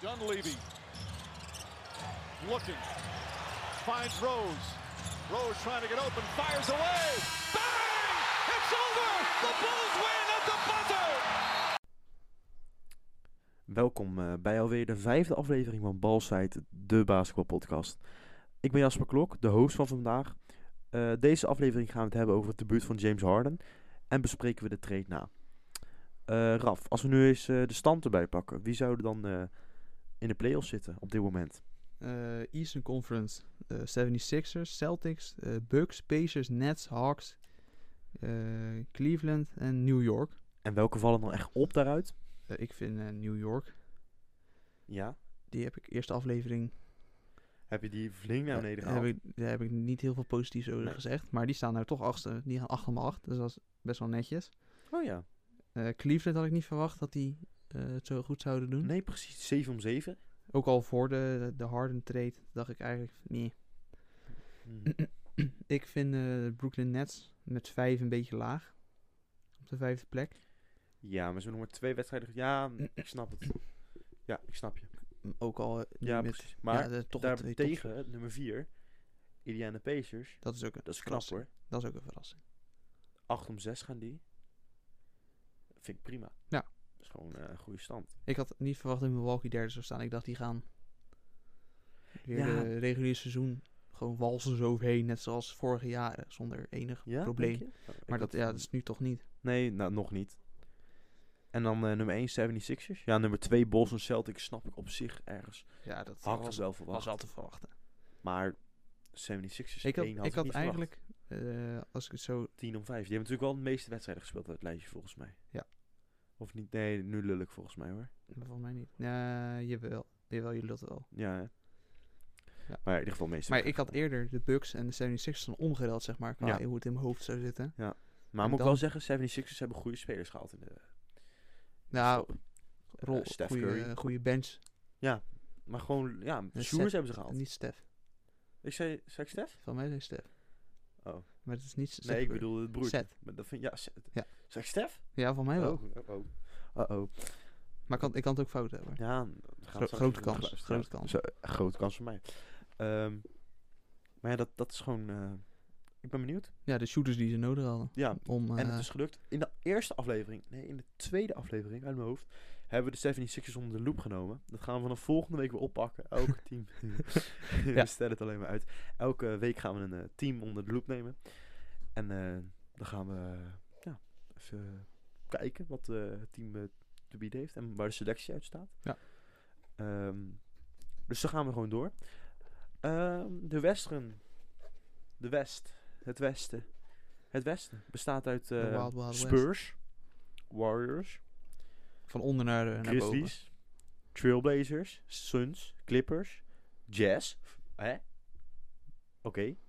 Dunleavy looking, finds Rose. Rose trying to get open, fires away. Bang! It's over! The Bulls win at the buzzer! Welkom eh, bij alweer de vijfde aflevering van Balsite, de basketbalpodcast. Ik ben Jasper Klok, de host van vandaag. Eh, deze aflevering gaan we het hebben over het debuut van James Harden en bespreken we de trade na. Eh, Raf, als we nu eens eh, de stand erbij pakken, wie zouden dan eh, in de playoffs zitten op dit moment? eh, Eastern Conference, eh, 76ers, Celtics, eh, Bucks, Pacers, Nets, Hawks, eh, Cleveland en New York. En welke vallen dan echt op daaruit? Eh, ik vind eh, New York, Ja, die heb ik eerste aflevering. heb je die flink naar eh, beneden heb gehaald? ik, daar heb ik niet heel veel positiefs over Nee. gezegd. Maar die staan nou toch achter. Die gaan 8 om 8. Dus dat is best wel netjes. Oh ja, Eh, Cleveland had ik niet verwacht dat die eh, het zo goed zouden doen. nee precies, 7 om 7. Ook al voor de, de Harden trade dacht ik eigenlijk, nee. Hm. ik vind eh, de Brooklyn Nets met 5 een beetje laag. Op de vijfde plek. Ja, maar ze hebben nog maar twee wedstrijden. ge- Ja, ik snap het. Ja, ik snap je. m- ook al eh, Ja, met- precies. Maar ja, de- toch Daar de twee tops. tegen, nummer 4, Indiana Pacers. Dat is ook een Dat is knap verrassing. hoor. Dat is ook een verrassing. 8 om 6 gaan die. Vind ik prima. Ja. Dat is gewoon eh, een goede stand. Ik had niet verwacht dat Milwaukee derde zou staan. Ik dacht die gaan weer Ja. de reguliere seizoen gewoon walsen zo overheen, net zoals vorige jaren, zonder enig Ja, probleem. denk je? Oh, ik Maar dat, had- ja, dus dat is nu toch niet. Nee, nou, nog niet. En dan eh, nummer 1, 76ers. Ja, nummer 2, Boston Celtics. Snap ik op zich ergens. Ja, dat Had ik was, wel was verwacht. al te verwachten. Maar 76ers Ik had, 1 ik had ik had, niet eigenlijk, eh, als ik het zo... 10 om 5. Die hebben natuurlijk wel de meeste wedstrijden gespeeld uit het lijstje volgens mij. Ja. Of niet? Nee, nu lul ik volgens mij hoor. Volgens mij niet. Nee, jawel. Jawel, jullie dat wel. Ja, hè? Ja. Maar in ieder geval de meeste Maar wedstrijden ik had gespeeld. eerder de Bucks en de 76ers dan omgeruild, zeg maar, qua Ja. hoe het in mijn hoofd zou zitten. Maar En moet dan- ik wel zeggen, 76ers hebben goede spelers gehaald in de Nou, stop. rol, Eh, Steph goede, Curry. goede bench, Maar gewoon, ja, Eh, shooters Steph- hebben ze gehaald. niet Stef. Ik zei, zei ik Stef? Van mij zijn Stef. Oh. Maar het is niet Stef Nee, ik Curry. bedoel het broertje. Seth. Maar dat vind, ja, Seth. Ja. Zeg ik Stef? Ja, van mij wel. Oh, oh, oh. Uh-oh. Maar kan, ik kan het ook fout hebben. Ja, we gaan Gro- het straks grote even kans, terugluisteren. grote kans. Zo, eh, grote kans voor mij. Ehm, maar ja, dat, dat is gewoon... eh, ik ben benieuwd. Ja, de shooters die ze nodig hadden. Ja, Om, en eh, het is gelukt. In de eerste aflevering, nee, in de tweede aflevering uit mijn hoofd, hebben we de 76ers onder de loep genomen. Dat gaan we vanaf volgende week weer oppakken. Elk team. Ja. We stellen het alleen maar uit. Elke week gaan we een eh, team onder de loep nemen. En eh, dan gaan we eh, ja, even eh, kijken wat eh, het team eh, te bieden heeft en waar de selectie uit staat. Ja. Ehm, dus dan gaan we gewoon door. Ehm, de Western. De West. Het Westen. Het Westen bestaat uit eh, Wild Wild West. Spurs, Warriors, van onder naar, eh, naar boven. Grizzlies, Trailblazers, Suns, Clippers, Jazz. Hè? Oké.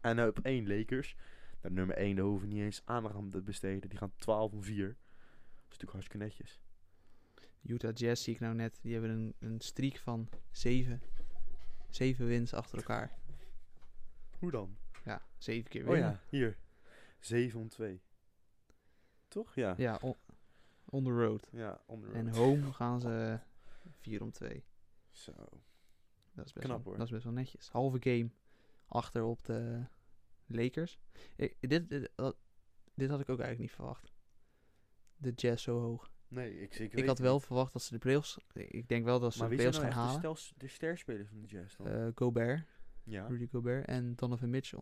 En op één Lakers. Nou, nummer 1, daar hoeven we niet eens aandacht aan te besteden. Die gaan 12 om 4. Dat is natuurlijk hartstikke netjes. Utah Jazz zie ik nou net. Die hebben een, een streak van zeven. Zeven wins achter elkaar. Hoe dan? Ja, zeven keer Oh winnen. ja, hier. 7 om 2. Toch? Ja. ja on, on the road. Ja, onder. En home gaan ze 4 om 2. Zo. Dat is best, Knap, wel, hoor. Dat is best wel netjes. Halve game achter op de Lakers. Ik- dit, dit, eh, dat- dit had ik ook eigenlijk niet verwacht. De Jazz zo hoog. Nee, ik, ik, Ik, weet had wel niet. verwacht dat ze de playoffs... Ik denk wel dat ze Maar de wie zijn playoffs nou gaan echt de, halen. stels, de sterspelers van de Jazz dan? Eh, Gobert, ja. Rudy Gobert en Donovan Mitchell.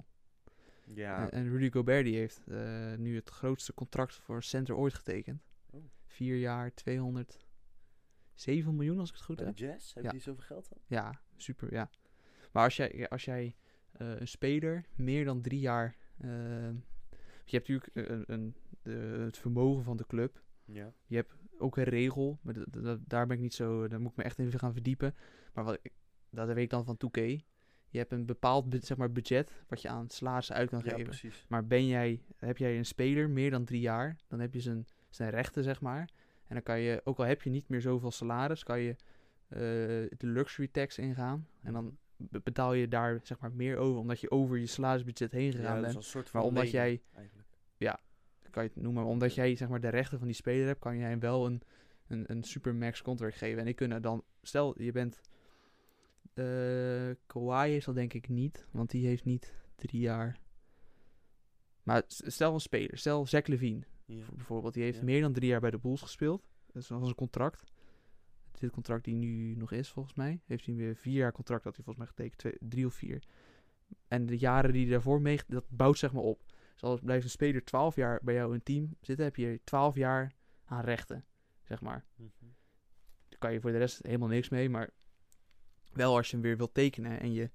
Ja. En, en Rudy Gobert die heeft eh, nu het grootste contract voor center ooit getekend. Oh. Vier jaar, 207 miljoen als ik het goed Bij heb. de Jazz? Hebben Ja. die zoveel geld dan? Ja, super, ja. Maar als jij, als jij eh, een speler meer dan drie jaar... eh, je hebt natuurlijk eh, een, een, de, het vermogen van de club. Ja. ook een regel, maar dat- dat- dat- daar ben ik niet zo, daar moet ik me echt even gaan verdiepen. Maar wat ik, dat weet ik dan van 2K. Je hebt een bepaald bu- zeg maar, budget wat je aan salarissen uit kan Ja, geven. precies. Maar ben jij, heb jij een speler meer dan drie jaar, dan heb je zijn, zijn rechten, zeg maar. En dan kan je, ook al heb je niet meer zoveel salaris, kan je eh, de luxury tax ingaan. En dan be- betaal je daar zeg maar meer over, omdat je over je salarisbudget Ja, heen dat gegaan is bent. een soort van Maar omdat lening jij Eigenlijk. kan je het noemen. Maar omdat Ja. jij zeg maar, de rechten van die speler hebt, kan jij hem wel een, een, een supermax contract geven. En ik kunnen dan, stel je bent eh Kawhi is dat denk ik niet, want die heeft niet drie jaar. Maar s- stel een speler, stel Zach Levine Ja. bijvoorbeeld, die heeft Ja. meer dan drie jaar bij de Bulls gespeeld. Dat is nog een contract. Dit contract die nu nog is volgens mij, heeft hij weer vier jaar contract, dat hij volgens mij getekend, twee, drie of vier. En de jaren die hij daarvoor mee, dat bouwt zeg maar op. Dus als blijft een speler twaalf jaar bij jou in het team zitten, heb je twaalf jaar aan rechten, zeg maar. Mhm. Daar kan je voor de rest helemaal niks mee. Maar wel als je hem weer wilt tekenen en je.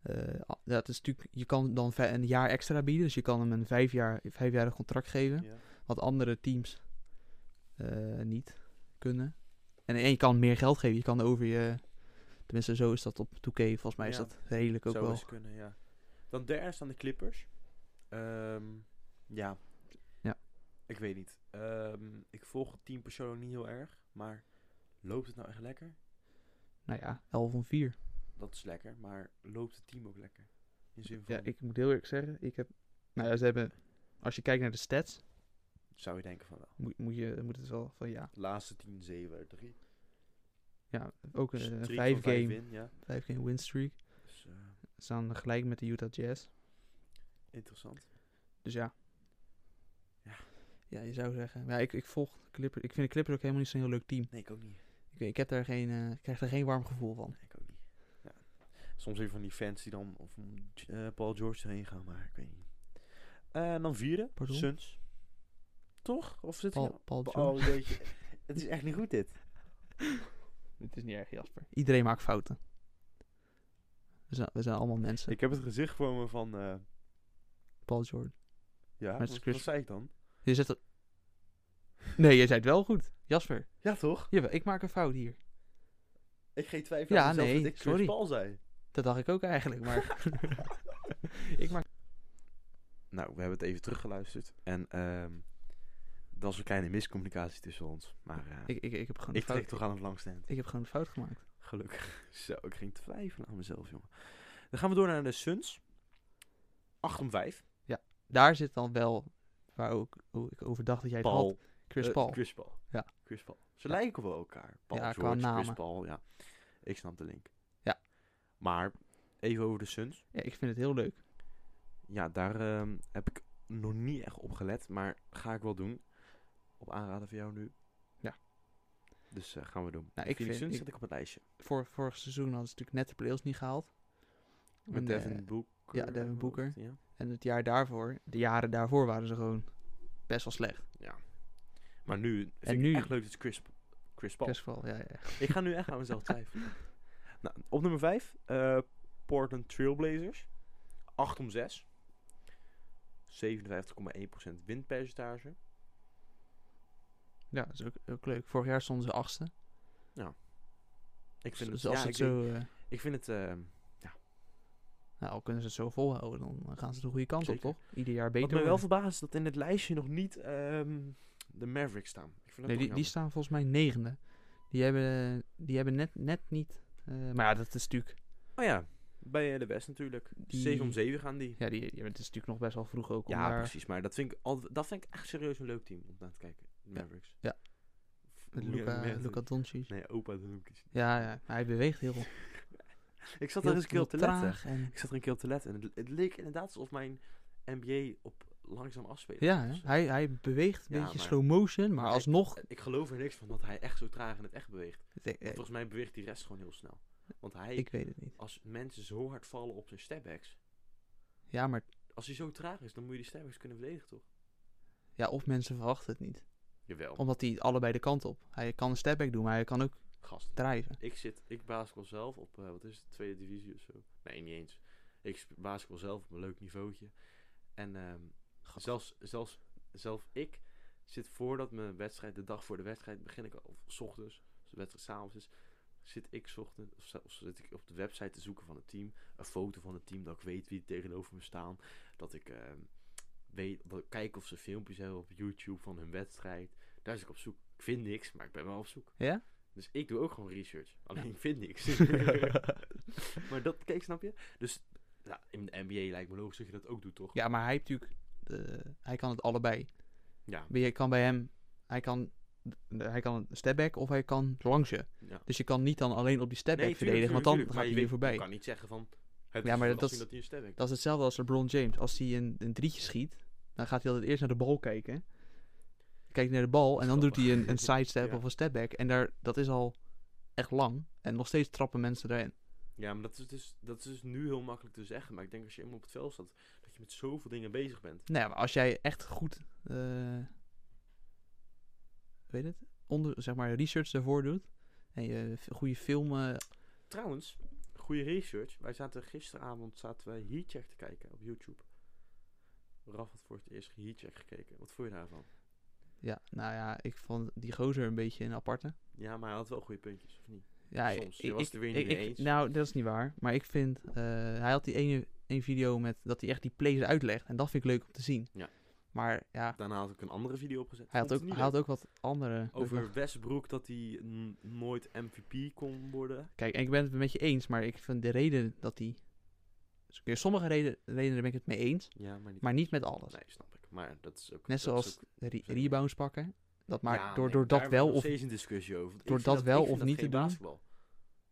eh, a- dat is natuurlijk, je kan dan vij- een jaar extra bieden. Dus je kan hem een vijf jaar, vijfjarig contract geven. Ja. Wat andere teams eh, niet kunnen. En, en je kan meer geld geven. Je kan over je. Tenminste, zo is dat op 2K. Volgens mij is Ja. dat redelijk ook Zou wel. eens kunnen, ja. Dan derde staan de Clippers. Ehm, ja. Ja. Ik weet niet. Ehm, ik volg het team persoonlijk niet heel erg. Maar loopt het nou echt lekker? Nou ja, 11 van 4. Dat is lekker. Maar loopt het team ook lekker? In zin van, Ja, ik moet heel eerlijk zeggen. Ik heb. Nou ja, ze hebben. Als je kijkt naar de stats, zou je denken van wel. moet, moet, je, moet het wel van ja. Laatste 10, 7 uit 3. Ja, ook Streak een van 5 vijf eh, game, win, ja. 5 game win streak. Dus, eh, staan gelijk met de Utah Jazz. interessant. Dus ja. Ja. Ja, je zou zeggen. Maar ja, ik, ik volg de Clippers. Ik vind de Clippers ook helemaal niet zo'n heel leuk team. Nee, ik ook niet. Ik, weet- ik heb daar geen, eh, ik krijg daar geen warm gevoel van. Nee, ik ook niet. Ja. Soms even van die fans die dan of om G- eh, Paul George heen gaan, maar ik weet niet. Eh, En dan vierde, Pardon? Suns. Toch? Of zit Paul, hij? Paul Oh, George. weet je. Het is echt niet goed dit. Het is niet erg, Jasper. Iedereen maakt fouten. We zijn, we zijn allemaal mensen. Ik heb het gezicht voor me van. eh, Paul George. ja, Met wat, Chris- wat zei ik dan? Je zet dat... Nee, je zei het wel goed. Jasper. Ja, toch? Jawel, ik maak een fout hier. Ik geen twijfel Ja, aan mezelf nee, dat ik Chris sorry. Paul zei. Dat dacht ik ook eigenlijk, maar... ik maak... Nou, we hebben het even teruggeluisterd. En ehm dat was een kleine miscommunicatie tussen ons. Maar eh, ik, Ik, ik, ik heb gewoon een trek fout... toch aan het langstand. Ik heb gewoon een fout gemaakt. Gelukkig. Zo, ik ging twijfelen aan mezelf, jongen. Dan gaan we door naar de Suns. 8 om 5. Daar zit dan wel... Waar ook, hoe ik over dacht dat jij het had. Chris Eh, Paul. Chris Paul. Ja. Chris Paul. Ze Ja. lijken wel elkaar. Paul Ja, qua George, Chris namen. Paul, ja. Ik snap de link. Ja. Maar, even over de Suns. Ja, ik vind het heel leuk. Ja, daar ehm, heb ik nog niet echt op gelet, maar ga ik wel doen. Op aanraden van jou nu. Ja. Dus eh, gaan we doen. Nou, ik Phoenix vind- Suns ik- zet ik op het lijstje. Vor, vorig seizoen hadden ze natuurlijk net de play-offs niet gehaald. Met En, eh, Devin Booker. ja, Devin uit mijn Booker. hoofd, Ja. en het jaar daarvoor, de jaren daarvoor waren ze gewoon best wel slecht. Maar nu vind En ik nu- echt leuk dat Chris, Chris Paul. Best wel, ja, ja. Ik ga nu echt aan mezelf twijfelen. nou, op nummer 5, Portland Trailblazers. 8 om 6. 57,1% winpercentage. Ja, dat is ook, ook leuk. Vorig jaar stonden ze achtste. Ik vind Dus het, ja, als ze ik, het zo, eh, denk- ik vind het ehm, nou, al kunnen ze het zo volhouden, dan eh, gaan ze de goede kant Zeker. op, toch? Ieder wat jaar beter me wel worden. verbaast is dat in het lijstje nog niet ehm, de Mavericks staan. Ik vind dat Nee, die, toch die jammer. staan volgens mij negende. Die hebben, eh, die hebben net, net niet... eh, maar ja, dat is natuurlijk... Oh ja, bij eh, de West natuurlijk. Die- 7 om 7 gaan die. Ja, die, ja, het is natuurlijk nog best wel vroeg ook om Ja, daar... precies. Maar dat vind, ik al, dat vind ik echt serieus een leuk team om naar te kijken. De Mavericks. ja. F- Met hoe je Luca, merkt- Luca Doncic. Nee, opa de Lucas. Ja, ja, hij beweegt heel, Ik zat heel, daar eens een keer heel op te letten. traag en Ik zat er een keer op te letten en het, het leek inderdaad alsof mijn NBA op langzaam afspeelde. Ja, Dus hè? hij, hij beweegt een Ja, beetje maar- slow motion, maar hij- alsnog... Ik geloof er niks van dat hij echt zo traag in het echt beweegt. Ik, Volgens mij beweegt die rest gewoon heel snel. Want hij, Eh, ik weet het niet. als mensen zo hard vallen op zijn stepbacks, Ja, maar als hij zo traag is, dan moet je die stepbacks kunnen verdedigen, toch? ja, of mensen verwachten het niet. Jawel, Omdat hij allebei de kant op. Hij kan een stepback doen, maar hij kan ook gast. drijven. Ik zit, ik basketbal zelf op, eh, wat is het, tweede divisie of zo? Nee, niet eens. Ik sp- basketbal zelf op een leuk niveautje. En ehm, zelfs, zelfs, zelf ik zit voordat mijn wedstrijd, de dag voor de wedstrijd, begin ik al, of 's ochtends, als de wedstrijd s'avonds is, zit ik 's ochtends, of, s- of zit ik op de website te zoeken van het team, een foto van het team, dat ik weet wie tegenover me staan, dat ik ehm, weet, dat ik kijk of ze filmpjes hebben op YouTube van hun wedstrijd. Daar zit ik op zoek. Ik vind niks, maar ik ben wel op zoek. Ja? Dus ik doe ook gewoon research. Alleen ik vind niks. maar dat, kijk, snap je? Dus ja, in de NBA lijkt me logisch dat je dat ook doet, toch? Ja, maar hij heeft natuurlijk... eh, hij kan het allebei. Ja. Maar Je kan bij hem... Hij kan hij kan een stepback of hij kan langs je. Ja. Dus je kan niet dan alleen op die stepback verdedigen, want dan gaat hij weer voorbij. Je kan niet zeggen van... Het Ja, ja, maar maar dat- dat, dat hij een stem heeft. Dat is hetzelfde als LeBron James. Als hij een, een drietje schiet, dan gaat hij altijd eerst naar de bal kijken. Kijkt naar de bal en dan doet hij een, een sidestep Ja. of een stepback. En daar, dat is al echt lang. En nog steeds trappen mensen erin. Ja, maar dat is, dus, dat is dus nu heel makkelijk te zeggen. Maar ik denk als je helemaal op het veld staat, dat je met zoveel dingen bezig bent. Nou ja, maar als jij echt goed, eh, weet het, onder, zeg maar research daarvoor doet. En je f- goede film... eh, Trouwens, goede research. Wij zaten gisteravond zaten wij Heatcheck te kijken op YouTube. Raf had voor het eerst Heatcheck gekeken. Wat vond je daarvan? ja, nou ja, ik vond die gozer een beetje een aparte. Ja, maar hij had wel goede puntjes, of niet? Ja, Soms, je was het er weer niet mee eens. Nou, dat is niet waar. Maar ik vind, eh, hij had die ene, ene video met dat hij echt die plays uitlegt. En dat vind ik leuk om te zien. Ja. Maar ja, Daarna had ik een andere video opgezet. hij had, Vond ook, het niet hij had leuk. ook wat andere... Over Westbroek dat hij n- nooit MVP kon worden. Kijk, en ik ben het met je eens, maar ik vind de reden dat hij... dus Sommige reden, redenen ben ik het mee eens, Ja, maar niet. maar niet met alles. Nee, snap ik. Maar dat is ook. Net dat is zoals ook- re- zeker. rebounds pakken. Dat maar Ja, door, nee, door daar dat hebben we wel nog of steeds een discussie over. want ik door vind dat ik wel vind of niet te geen doen. basketbal.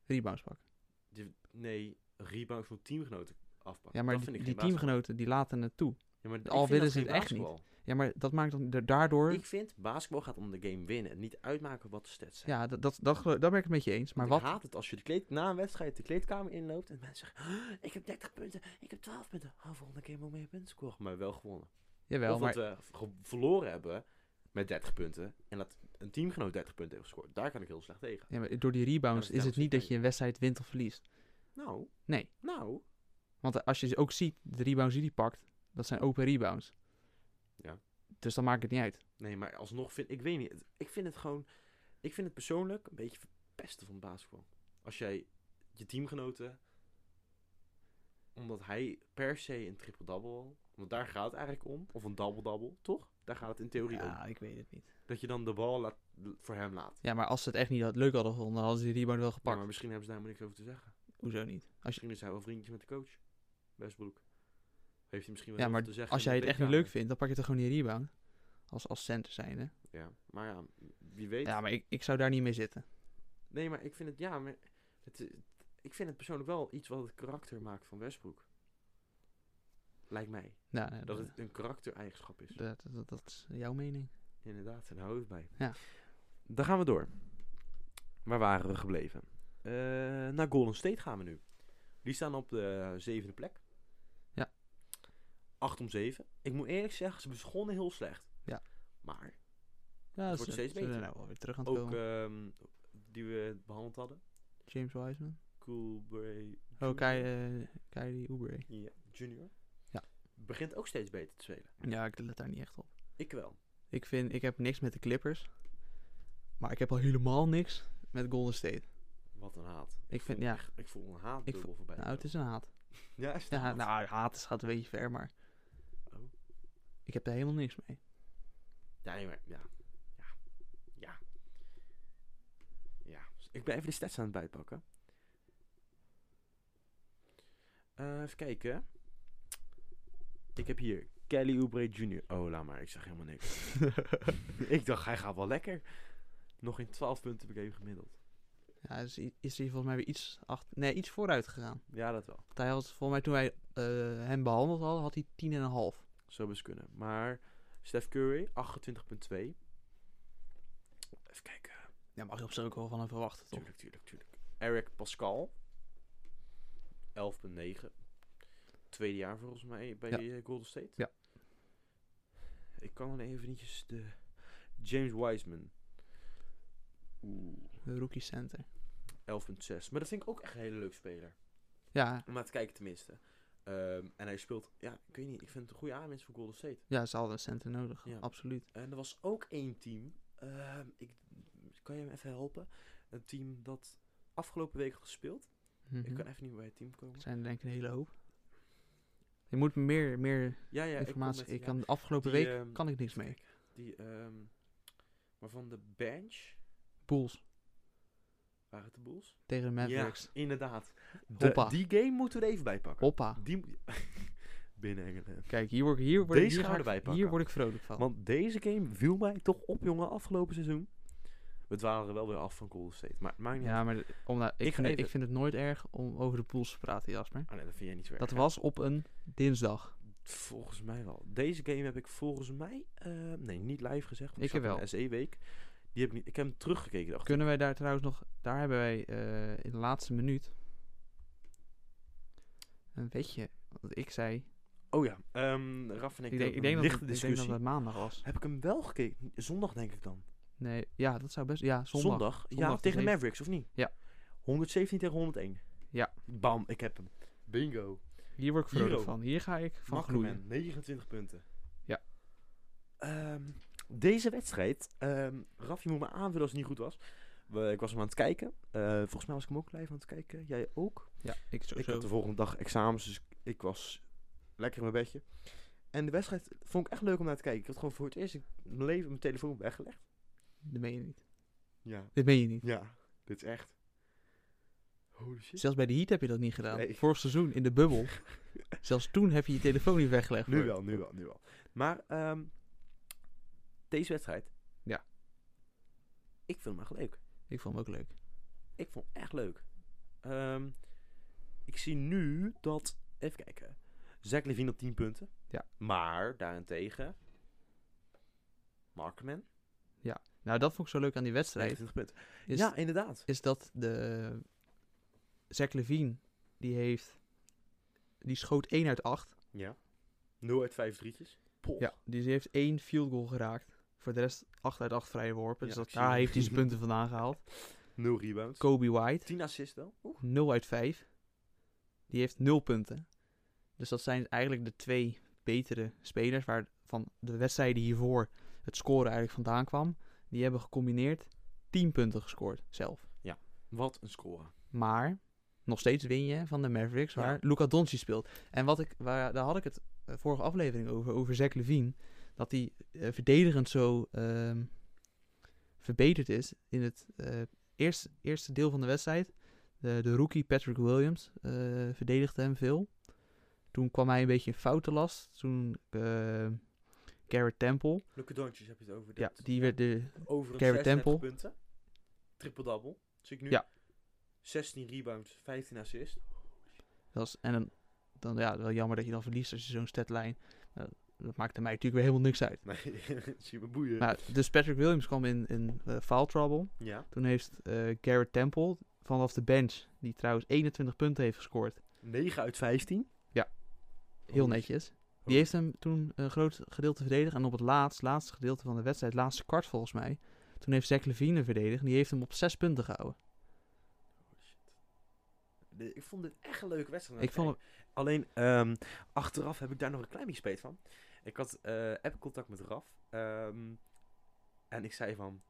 rebounds pakken. Oh, Die- nee, rebounds van teamgenoten afpakken. Ja, maar dat die, vind ik die geen basketbal. teamgenoten die laten het toe. Ja, maar ik al vind willen dat ze geen het echt niet. basketbal. Ja, maar dat maakt dan da- daardoor... Ik vind, basketbal gaat om de game winnen. en Niet uitmaken wat de stats zijn. ja, dat, dat, dat, gelo- daar ben ik het met je eens. Maar Want wat, ik haat het als je de kleed, na een wedstrijd de kleedkamer inloopt en mensen zeggen... "Oh, ik heb 30 punten, ik heb 12 punten. Oh, volgende keer moet ik meer punten scoren. Maar wel gewonnen. Jawel, of maar dat we ge- verloren hebben met 30 punten en dat een teamgenoot 30 punten heeft gescoord. Daar kan ik heel slecht tegen. Ja, maar door die rebounds Ja, dat is het is niet dat je een wedstrijd wint of verliest. Nou, Nee. nou... Want eh, als je ze ook ziet, de rebounds die hij pakt, dat zijn open rebounds. Ja. Dus dan maakt het niet uit. Nee, maar alsnog vind ik, weet niet, het- ik vind het gewoon, ik vind het persoonlijk een beetje verpesten van basketbal. Als jij je teamgenoten, omdat hij per se een triple-double wil, want daar gaat het eigenlijk om, of een double-double, toch? Daar gaat het in theorie om. ik weet het niet. Dat je dan de bal laat, voor hem laat. Ja, maar als ze het echt niet had, leuk hadden gevonden, hadden ze die rebound wel Ja, gepakt. maar misschien hebben ze daar helemaal niks over te zeggen. Hoezo niet? Als je, Misschien is hij wel vriendjes met de coach, Westbroek. Heeft hij misschien wel ja, heel maar veel te zeggen als in jij de het echt niet leuk kleedkamer. vindt, dan pak je toch gewoon die rebound. Als, als center zijn, hè? Ja, maar ja, wie weet. Ja, maar ik, ik zou daar niet mee zitten. Nee, maar ik vind het, ja, maar het, i- ik vind het persoonlijk wel iets wat het karakter maakt van Westbroek. Lijkt mij. Nou, nee, Dat dat, het een karaktereigenschap is. dat, dat, dat is jouw mening. Inderdaad, daar hou ik bij. Ja. Dan gaan we door. Waar waren we gebleven? Eh, naar Golden State gaan we nu. Die staan op de zevende plek. Ja. 8 om 7. Ik moet eerlijk zeggen, ze begonnen heel slecht. Ja. Maar Ja, wordt steeds We beter. nou wel weer terug aan het ook komen. ehm, die we behandeld hadden. James Wiseman. Cool Bray. Oh, Kai, eh Kyrie Oubre. Ja, junior. Ja. Begint ook steeds beter te spelen. Ja, ik let daar niet echt op. Ik wel. Ik vind, ik heb niks met de Clippers. Maar ik heb al helemaal niks met Golden State. Wat een haat. Ik vind, voel ja, echt- ik voel een haat Ik dubbel voorbij. nou, het is een haat. komen. Ja, is het Ja, haat? nou, haat is gaat een beetje ver, maar... Oh. Ik heb daar helemaal niks mee. Ja, nee, maar ja. Ja. Ja. Ja. Ik ben even de stats aan het bijpakken. Eh, even kijken. Ik heb hier Kelly Oubre Jr. Oh, laat maar. Ik zeg helemaal niks. ik dacht, hij gaat wel lekker. Nog in 12 punten per game gemiddeld. Ja, is, i- is hij volgens mij weer iets, acht, nee, iets vooruit gegaan. Ja, dat wel. Want hij had, volgens mij toen wij eh, hem behandeld hadden, had hij 10,5. Zou best kunnen. Maar Steph Curry, 28,2. Even kijken. Ja, mag je op zich ook wel van hem verwachten, toch? Tuurlijk, tuurlijk, tuurlijk. Eric Pascal, 11,9. Tweede jaar volgens mij bij Ja. eh, Golden State. Ja. Ik kan dan eventjes de... James Wiseman. Oeh. 11,6. De rookie center. Maar dat vind ik ook echt een hele leuke speler. Ja, Om naar te kijken tenminste. Ehm, en hij speelt... Ja, ik weet niet. Ik vind het een goede aanwinst voor Golden State. ja, ze hadden een center nodig, Ja. absoluut. En er was ook één team. ehm, ik, kan je me even helpen? Een team dat afgelopen week had gespeeld. Mhm. Ik kan even niet bij het team komen. Er zijn er denk ik een hele hoop. Je moet meer, meer Ja, ja. informatie. Ik, Ik kom met- kan de afgelopen Die, week ehm, kan ik niks mee. ja, die, ehm, maar van de bench Bulls waren het de Bulls. tegen de Mavericks. Ja, inderdaad. De- Hoppa. die game moeten we er even bij pakken. Hoppa. Die moet- Binnen Engeland. Kijk, hier word, ik- hier, word ik- Deze hier, gaan we ga ik- erbij pakken. hier word ik vrolijk van. Want deze game viel mij toch op, jongen, afgelopen seizoen. We dwalen er wel weer af van Golden State. Maar het maakt niet Ja, uit. maar de- om, nou, ik, Ik ga vind het, even- ik vind het nooit erg om over de pools te praten, Jasper. Ah, nee, dat vind jij niet zo erg, Dat hè? was op een dinsdag. Volgens mij wel. Deze game heb ik volgens mij... eh, nee, niet live gezegd. want Ik zat heb in wel. de SE-week. Die heb ik, niet, ik heb hem teruggekeken. Dacht. ik. Kunnen wij daar trouwens nog... Daar hebben wij eh, in de laatste minuut... Een wetje. Want ik zei... Oh ja. ehm Raf en ik, Ik denk, ik, een denk dat, lichte het- ik denk discussie. dat het maandag was. Heb ik hem wel gekeken? Zondag denk ik dan. Nee, ja, dat zou best... Ja, zondag. Zondag? ja, Zondag tegen de de zeven- Mavericks, of niet? Ja. 117 tegen 101. Ja. Bam, ik heb hem. Bingo. Hier word ik vrolijk Hero. van. Hier ga ik van gloeien. Makkerman, 29 punten. Ja. Ehm, deze wedstrijd, ehm Raf, je moet me aanvullen als het niet goed was. We- ik was hem aan het kijken. Eh, volgens mij was ik hem ook live aan het kijken. Jij ook? Ja, ik Ik sowieso. had de volgende dag examens, dus ik was lekker in mijn bedje. En de wedstrijd vond ik echt leuk om naar te kijken. Ik had gewoon voor het eerst in mijn leven mijn telefoon weggelegd. Dit meen je niet. Ja. Dit meen je niet. Ja, dit is echt. Holy shit. Zelfs bij de heat heb je dat niet gedaan. Nee. Vorig seizoen in de bubbel. Zelfs toen heb je je telefoon niet weggelegd. Nu hoor. wel, nu wel, nu wel. Maar ehm, deze wedstrijd. Ja. Ik vind hem echt leuk. Ik vond hem ook leuk. Ik vond hem echt leuk. Ehm, ik zie nu dat. Even kijken. Zach Levine op 10 punten. Ja. Maar daarentegen. Markman. Nou, dat vond ik zo leuk aan die wedstrijd. 29 punten. Is, ja, inderdaad. is dat de... Zach Levine, die heeft... Die schoot 1 uit 8. Ja. 0 uit 5 drietjes. Poh. Ja, dus die heeft één field goal geraakt. Voor de rest 8 uit 8 vrije Ja, worpen. dus dat, ik zie daar hem. heeft hij zijn punten vandaan gehaald. 0 rebounds. Kobe White, 10 assists wel. Oeh. 0 uit 5. Die heeft 0 punten. Dus dat zijn eigenlijk de twee betere spelers waarvan de wedstrijden hiervoor het scoren eigenlijk vandaan kwam. Die hebben gecombineerd 10 punten gescoord zelf. Wat een score. Maar nog steeds win je van de Mavericks Ja. waar Luca Doncic speelt. En wat ik, waar, daar had ik het eh, vorige aflevering over, over Zach Levine. Dat hij eh, verdedigend zo ehm, verbeterd is in het eh, eerste, eerste deel van de wedstrijd. De, de rookie Patrick Williams eh, verdedigde hem veel. Toen kwam hij een beetje in foutenlast. Toen eh, Garrett Temple. Luke Doncic heb je het over. Ja, dit. die werd de, Over een 36 Garrett Temple. punten. Triple-double. Zie ik nu. Ja. 16 rebounds, 15 assists. Dat is- en dan, dan ja, wel jammer dat je dan verliest als je zo'n statlijn. eh, dat maakte mij natuurlijk weer helemaal niks uit. Nee, super boeien. Maar, dus Patrick Williams kwam in, in eh, foul trouble. ja, Toen heeft eh, Garrett Temple vanaf de bench, die trouwens 21 punten heeft gescoord, 9 uit 15. Ja. heel netjes. Die heeft hem toen een groot gedeelte verdedigd. En op het laatst, laatste gedeelte van de wedstrijd, laatste kwart volgens mij, toen heeft Zach Levine verdedigd. En die heeft hem op 6 punten gehouden. Oh, De- ik vond dit echt een leuke wedstrijd. om Ik naar te vond kijken. Alleen, ehm, achteraf heb ik daar nog een klein beetje spijt van. Ik had eh app contact met Raf. ehm, en ik zei van...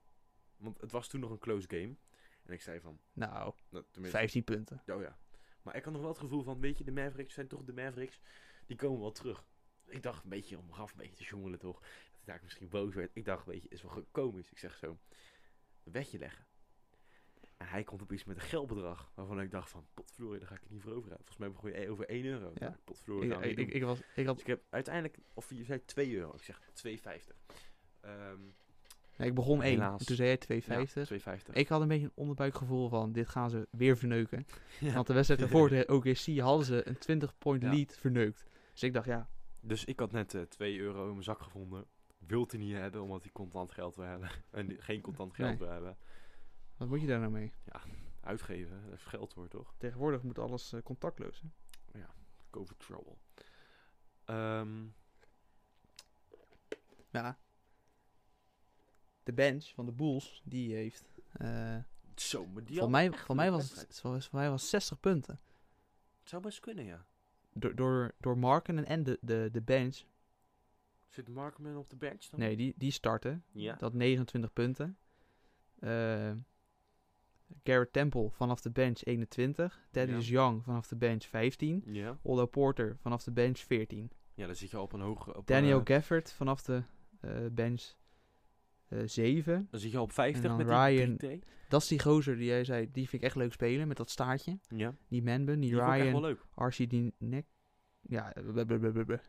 Want het was toen nog een close game. En ik zei van... nou, Nou, tenminste, 15 punten. Oh ja. Maar ik had nog wel het gevoel van, weet je, de Mavericks zijn toch de Mavericks. Die komen wel terug. Ik dacht een beetje om Raf een beetje te jongelen toch. Dat ik daar misschien boos werd. Ik dacht, weet je, is wel goed komisch. Ik zeg zo, een wetje leggen. En hij komt op iets met een geldbedrag. Waarvan ik dacht van, potvloer, daar ga ik er niet voor over uit. Volgens mij begon je e- over 1 euro. Ja. Ja. Potvloer, Ik, ik, ik, ik was, ik, dus had, ik heb uiteindelijk, of je zei 2 euro. Ik zeg 2,50. Ehm nee, ik begon 1. Helaas. Toen zei jij 2,50. Ja, 2,50. Ik had een beetje een onderbuikgevoel van dit gaan ze weer verneuken. Ja. Want de wedstrijd ervoor tegen OKC hadden ze een 20 point Ja. lead verneukt. Dus ik dacht ja, Dus ik had net eh 2 euro in mijn zak gevonden. Wilt hij niet hebben, omdat hij contant geld wil hebben. En die- geen contant geld Nee. wil hebben. wat moet je daar nou mee? Uitgeven, dat is geld hoor, toch? Tegenwoordig moet alles eh, contactloos. Hè? Go for trouble. Ehm, Ja. De bench van de Bulls, die heeft. eh zo, maar die voor, had mij, echt voor, een mij leuke was wedstrijd. het, voor, voor mij was 60 punten. Het zou best kunnen, ja. Door, door, door Marken en de, de, de bench. Zit Markman op de bench dan? Nee, die, die starten. Ja. Dat 29 punten. Eh, Garrett Temple vanaf de bench 21. Thaddeus Young vanaf de bench 15. Ja. Ollo Porter vanaf de bench 14. ja, dan zit je al op een hoge... Op Daniel een, eh, Gafford vanaf de eh, bench eh 7. Dan zit je al op en 50 dan met Ryan. die 3T. Dat is die gozer die jij zei, die vind ik echt leuk spelen met dat staartje. Ja, Die Manbun, die, die vond ik echt wel Ryan, leuk. RC Dinek. Ja, blablabla.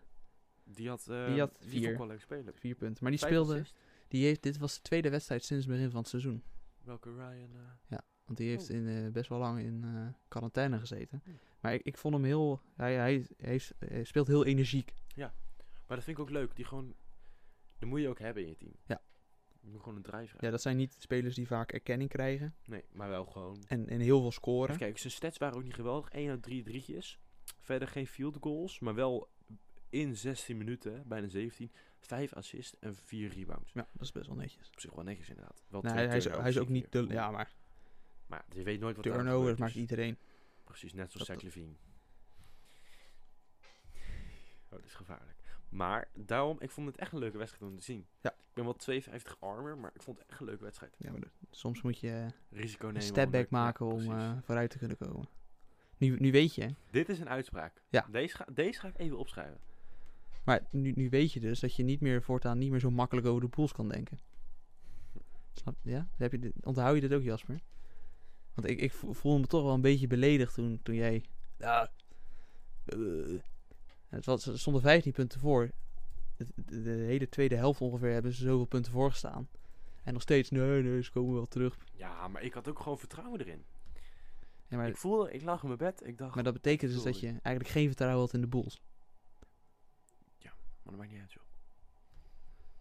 Die had, eh Die had vond ik vier. wel leuk spelen. vier punten. Maar die Vijf speelde, assists. die heeft, dit was de tweede wedstrijd sinds het begin van het seizoen. Welke Ryan? eh, Want die heeft Oh. in, eh, best wel lang in eh, quarantaine gezeten. Hmm. Maar ik, ik vond hem heel... Hij, hij, hij is- hij speelt heel energiek. Maar dat vind ik ook leuk. Die gewoon... Die moet je ook hebben in je team. Ja. Je moet gewoon een drijf hebben. Ja, dat zijn niet spelers die vaak erkenning krijgen. Nee, maar wel gewoon... En, en heel veel scoren. Even kijken, zijn stats waren ook niet geweldig. 1 uit 3 drietjes. Verder geen field goals, maar wel in 16 minuten, hè, bijna 17, 5 assists en 4 rebounds. Ja, dat is best wel netjes. Op zich wel netjes inderdaad. Wel Nee, twee hij, is, turnovers hij is ook die niet de... keer. Ja, maar Maar je weet nooit wat er aan turnovers gebeurt, maakt dus iedereen. Precies, net zoals dat- Zach Levine. Oh, dat is gevaarlijk. Maar daarom, ik vond het echt een leuke wedstrijd om te zien. Ja. Ik ben wel 52 armer, maar ik vond het echt een leuke wedstrijd. Ja, maar dat- soms moet je eh, Risico een nemen. step honderd- back ja, maken om precies. eh, vooruit te kunnen komen. Nu, nu weet je, hè. Dit is een uitspraak. Ja. Deze, ga, deze ga ik even opschrijven. maar nu, nu weet je dus dat je niet meer voortaan niet meer zo makkelijk over de pools kan denken. Snap Ja? Heb je dit, onthoud je dit ook, Jasper? Want ik, ik vo- voelde me toch wel een beetje beledigd toen, toen jij... Ja, eh, het was, er stonden 15 punten voor. Het- De, de hele tweede helft ongeveer hebben ze zoveel punten voor gestaan. En nog steeds, nee, nee, ze komen wel terug. Ja, maar ik had ook gewoon vertrouwen erin. Ja, maar, ik voelde, ik lag in mijn bed, ik dacht, maar maar dat betekent dus dat je sorry. eigenlijk geen vertrouwen had in de Bulls. dat maakt niet uit joh.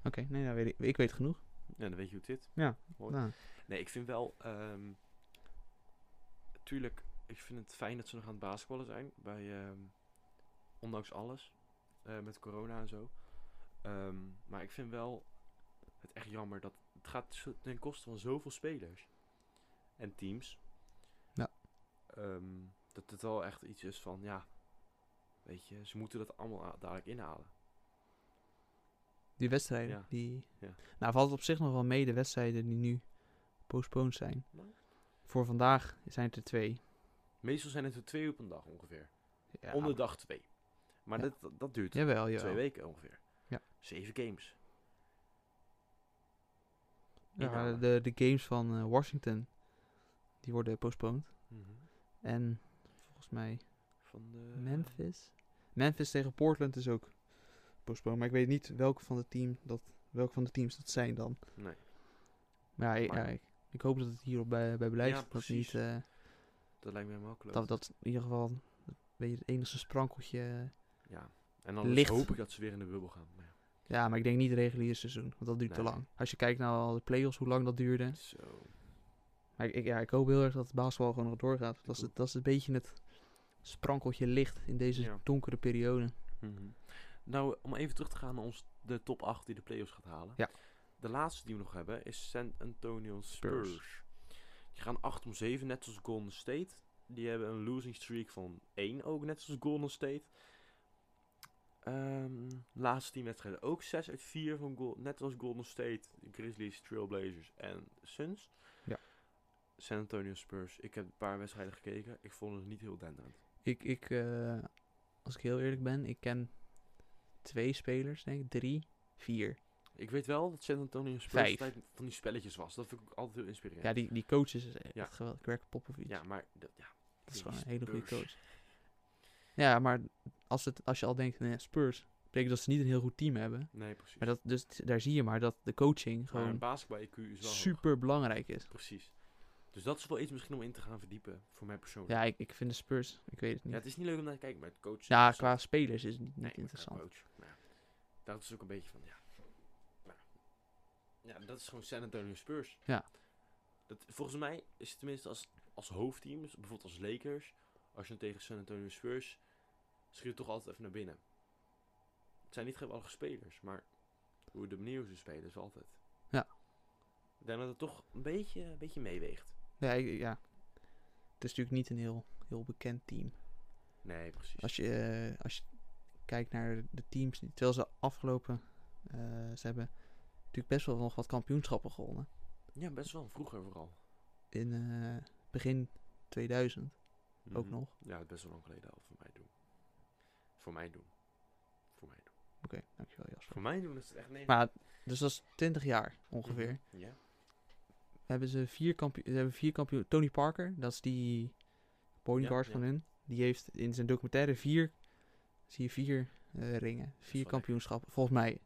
Oké, nee, nou weet ik, ik weet genoeg. Ja, dan weet je hoe het zit. Mooi. Nou, Nee, ik vind wel, ehm, tuurlijk, ik vind het fijn dat ze nog aan het basketballen zijn. Bij, ehm, ondanks alles, eh, met corona en zo. Ehm, maar ik vind wel het echt jammer dat het gaat zo- ten koste van zoveel spelers en teams. Ja. Ehm, dat het wel echt iets is van, ja, weet je, ze moeten dat allemaal a- dadelijk inhalen. die wedstrijden, Ja. die... Ja. Nou, valt het op zich nog wel mee, de wedstrijden die nu postponed zijn. Nou. Voor vandaag zijn het er twee. Meestal zijn het er twee op een dag ongeveer. Ja, Onder dag twee. Maar Ja. dat- dat, dat duurt Jawel, jawel. twee weken ongeveer. Ja. Zeven games. Ja, Inhalen. de, de games van eh, Washington, die worden postponed. En volgens mij Van de... Memphis. Memphis tegen Portland is ook postponed. Maar ik weet niet welke van de, team dat, welke van de teams dat zijn dan. Nee. Maar ja, Maar- ja, ik, ik hoop dat het hierop bij, bij beleid Ja, is, dat precies. niet... eh, Dat lijkt mij makkelijk. Dat, dat in ieder geval een beetje het enige sprankeltje. eh, Ja. En dan Licht. hoop ik dat ze weer in de bubbel gaan. Maar ja. Ja, maar ik denk niet het reguliere seizoen, want dat duurt te Nee. lang. Als je kijkt naar al de play-offs, hoe lang dat duurde. Zo. Maar ik, ik- ja, ik hoop heel erg dat het basketbal gewoon nog doorgaat. Dat is, het- dat is een beetje het sprankeltje licht in deze Ja. donkere periode. Nou, om even terug te gaan naar ons, de top 8 die de playoffs gaat halen. Ja. De laatste die we nog hebben is San Antonio Spurs. Spurs. Die gaan 8 om 7, net zoals Golden State. Die hebben een losing streak van 1 ook, net zoals Golden State. Ehm, laatste 10 wedstrijden ook 6 uit 4, van Gol- net als Golden State, Grizzlies, Trailblazers en Suns. Ja. San Antonio Spurs. Ik heb een paar wedstrijden gekeken. Ik vond het niet heel denderend. Ik, ik eh, als ik heel eerlijk ben, ik ken twee spelers, denk ik. Drie, vier. Ik weet wel dat San Antonio Spurs Vijf. altijd van die spelletjes was. Dat vind ik ook altijd heel inspirerend. Ja, die, die coaches is echt Ja. geweldig. Greg Popovich. Ja, maar dat, ja, Dat Die is gewoon een hele goede Spurs. coach. Ja, maar als, het, als je al denkt, nee, Spurs, betekent dat ze niet een heel goed team hebben. nee, precies. Maar Maar, dat, dus t- daar zie je maar dat de coaching een gewoon basketbal IQ is wel hoog. super belangrijk is. Precies. Dus dat is wel iets misschien om in te gaan verdiepen voor mij persoonlijk. Ja, ik, ik vind de Spurs, ik weet het Ja, niet. het is niet leuk om naar te kijken, maar het coach. is Ja, interessant. qua spelers is het niet, niet Nee, maar qua interessant. coach, nou ja. Dat is ook een beetje van, ja. Maar, ja, dat is gewoon San Antonio Spurs. Ja. Dat, volgens mij is het tenminste als, als hoofdteam, dus bijvoorbeeld als Lakers, als je dan tegen San Antonio Spurs, schiet toch altijd even naar binnen. Het zijn niet geweldige spelers, maar hoe de manier hoe ze spelen is altijd. Ja. Ik denk dat het toch een beetje, een beetje meeweegt. Ja, ik- ja, het is natuurlijk niet een heel, heel bekend team. Nee, precies. Als je, eh, als je kijkt naar de teams, die- terwijl ze afgelopen, eh, ze hebben natuurlijk best wel nog wat kampioenschappen gewonnen. Ja, best wel. Vroeger vooral. In eh, begin 2000 ook Mhm. nog. Ja, het is best wel lang geleden al voor mij doen. Voor mij doen. Voor mij doen. Oké, dankjewel Jasper. Voor mij doen is het echt negen. Mhm. Maar dus dat is 20 jaar ongeveer. Ja. Hebben ze vier kampioen, ze hebben vier kampioen. Tony Parker, dat is die point Ja, guard ja. van hun. Die heeft in zijn documentaire vier, zie je vier eh, ringen, vier lekker. kampioenschappen. Volgens mij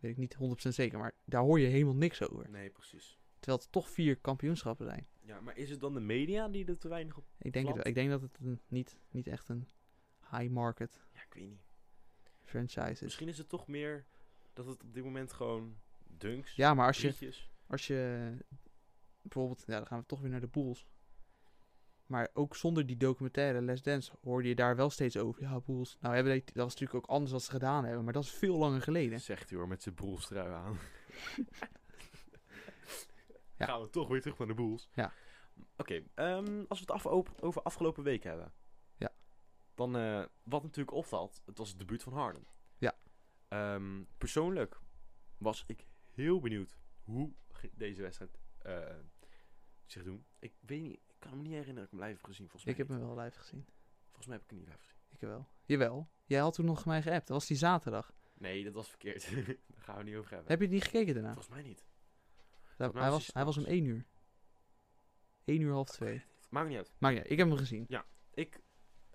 weet ik niet 100% zeker, maar daar hoor je helemaal niks over. Nee, precies. Terwijl het toch vier kampioenschappen zijn. Ja, maar is het dan de media die er te weinig op... Ik denk, het, Klopt. wel. ik denk dat het een, niet, niet echt een high market Ja, ik weet Dus- niet. franchise is. Misschien is het toch meer dat het op dit moment gewoon dunks, Ja, maar als je, drietjes. als je bijvoorbeeld, ja, dan gaan we toch weer naar de Bulls. Maar ook zonder die documentaire Les Dance hoorde je daar wel steeds over. Ja, Bulls. Nou, hebben die, dat was natuurlijk ook anders wat ze gedaan hebben, maar dat is veel langer geleden. Zegt hij hoor, met zijn broelstrui aan. Gaan we toch weer terug naar de boels. Ja. Oké, ehm, als we het af op- over afgelopen week hebben. Ja. Dan, eh, wat natuurlijk opvalt, het was het debuut van Harden. Ja. Ehm, persoonlijk was ik heel benieuwd hoe ging deze wedstrijd eh, zich doen. Ik weet niet, ik kan me niet herinneren dat ik hem live heb gezien. Volgens mij, Ik heb niet. hem wel live gezien. volgens mij heb ik hem niet live gezien. Ik wel. Jawel. Jij had toen nog mij geappt. Dat was die zaterdag. Nee, dat was verkeerd. Daar gaan we het niet over hebben. Heb je het niet gekeken daarna? Volgens mij niet. Hij- mij hij, was was, hij hij was om 1 uur. 1 uur half 2. Maakt niet uit. Maar ja, ik heb hem gezien. Ik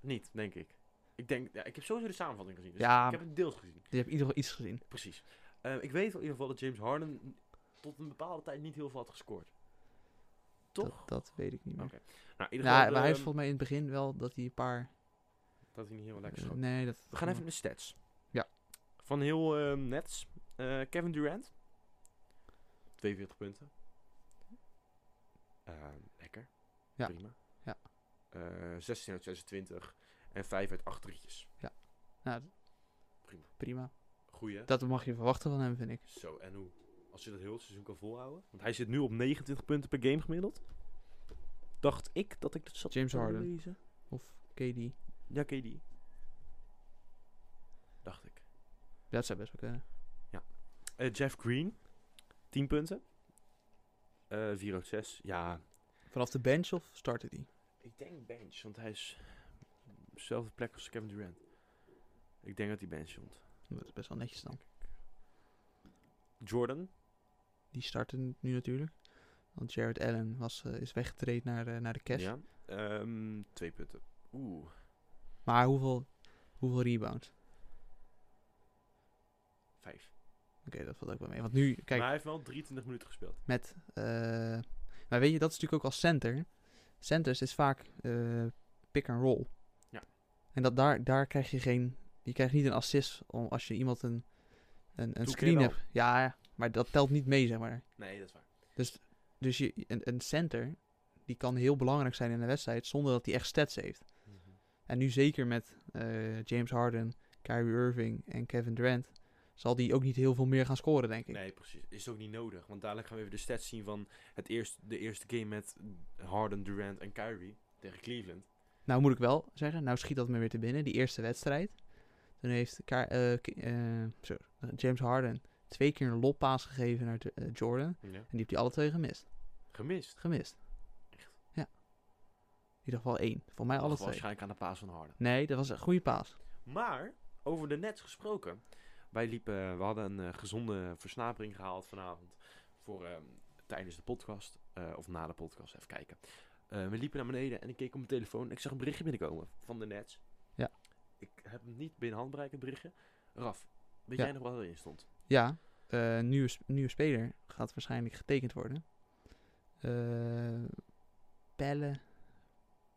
niet, denk ik. Ik denk, ja, ik heb sowieso de samenvatting gezien. Dus Ja. ik heb het deels gezien. Je hebt in ieder geval iets gezien. Precies. Eh, ik weet wel in ieder geval dat James Harden tot een bepaalde tijd niet heel veel had gescoord. Toch? Dat, dat weet ik niet meer. Oké. Nou, in ieder Ja, geval maar hij is ehm, volgens mij in het begin wel dat hij een paar... dat hij niet heel lekker eh, schoot. nee, dat... We gaan even naar de stats. Ja. Van heel ehm, nets. Eh, Kevin Durant. 42 punten. Eh, lekker. Ja. Prima. Ja. Eh, 16 uit 26. En 5 uit 8 drietjes. Nou, Prima. Goeie. Dat mag je verwachten van hem, vind ik. Zo, en hoe? Als je dat heel het seizoen kan volhouden. Want hij zit nu op 29 punten per game gemiddeld. Dacht ik dat ik dat zat James te Harden. lezen. Of KD. Ja, KD. Dacht ik. Dat zou best wel kunnen. Eh, Jeff Green. 10 punten. Eh 4 uit 6. Ja. Vanaf de bench of startte hij? Ik denk bench, want hij is op dezelfde plek als Kevin Durant. Ik denk dat hij bench stond. Dat is best wel netjes dan. Jordan. Die startte nu natuurlijk. Want Jared Allen was, eh, is weggetraind naar, eh, naar de cash. Ja. Ehm 2 punten. Oeh. Maar hoeveel, hoeveel rebounds? 5. Oké, dat valt ook wel mee. Want nu, Maar kijk, hij heeft wel 23 minuten gespeeld. met. eh, maar weet je, dat is natuurlijk ook als center. Centers is vaak eh, pick and roll. Ja. En dat daar, daar krijg je geen. Je krijgt niet een assist om, als je iemand een, een, een keer screen wel. hebt. Ja, ja, maar dat telt niet mee, zeg maar. Nee, dat is waar. Dus je, een, een center die kan heel belangrijk zijn in een wedstrijd zonder dat hij echt stats heeft. Mhm. En nu zeker met eh, James Harden, Kyrie Irving en Kevin Durant zal die ook niet heel veel meer gaan scoren, denk ik. Nee, precies. Is ook niet nodig. Want dadelijk gaan we even de stats zien van het eerst, de eerste game met Harden, Durant en Kyrie tegen Cleveland. Nou moet ik wel zeggen, nou schiet dat me weer te binnen. Die eerste wedstrijd. Toen heeft Ka- eh, K- eh, zo, eh, James Harden twee keer een loppaas gegeven naar Jo- eh, Jordan. En die heeft hij alle twee gemist. Gemist. Gemist. Echt? Ja. In ieder geval één. Voor mij alle Lag twee. Waarschijnlijk aan de paas van Harden. Nee, dat was een goede paas. Maar, over de nets gesproken. Wij liepen, we hadden een eh, gezonde versnapering gehaald vanavond. Voor, ehm, tijdens de podcast. eh, of na de podcast, even kijken. Eh, we liepen naar beneden en ik keek op mijn telefoon. En ik zag een berichtje binnenkomen van de nets. Ja. Ik heb hem niet binnen handbereik, het berichtje. Raf, weet Ja. jij nog wat erin stond? Ja, eh nieuwe, sp- nieuwe speler gaat waarschijnlijk getekend worden. Eh Pelle,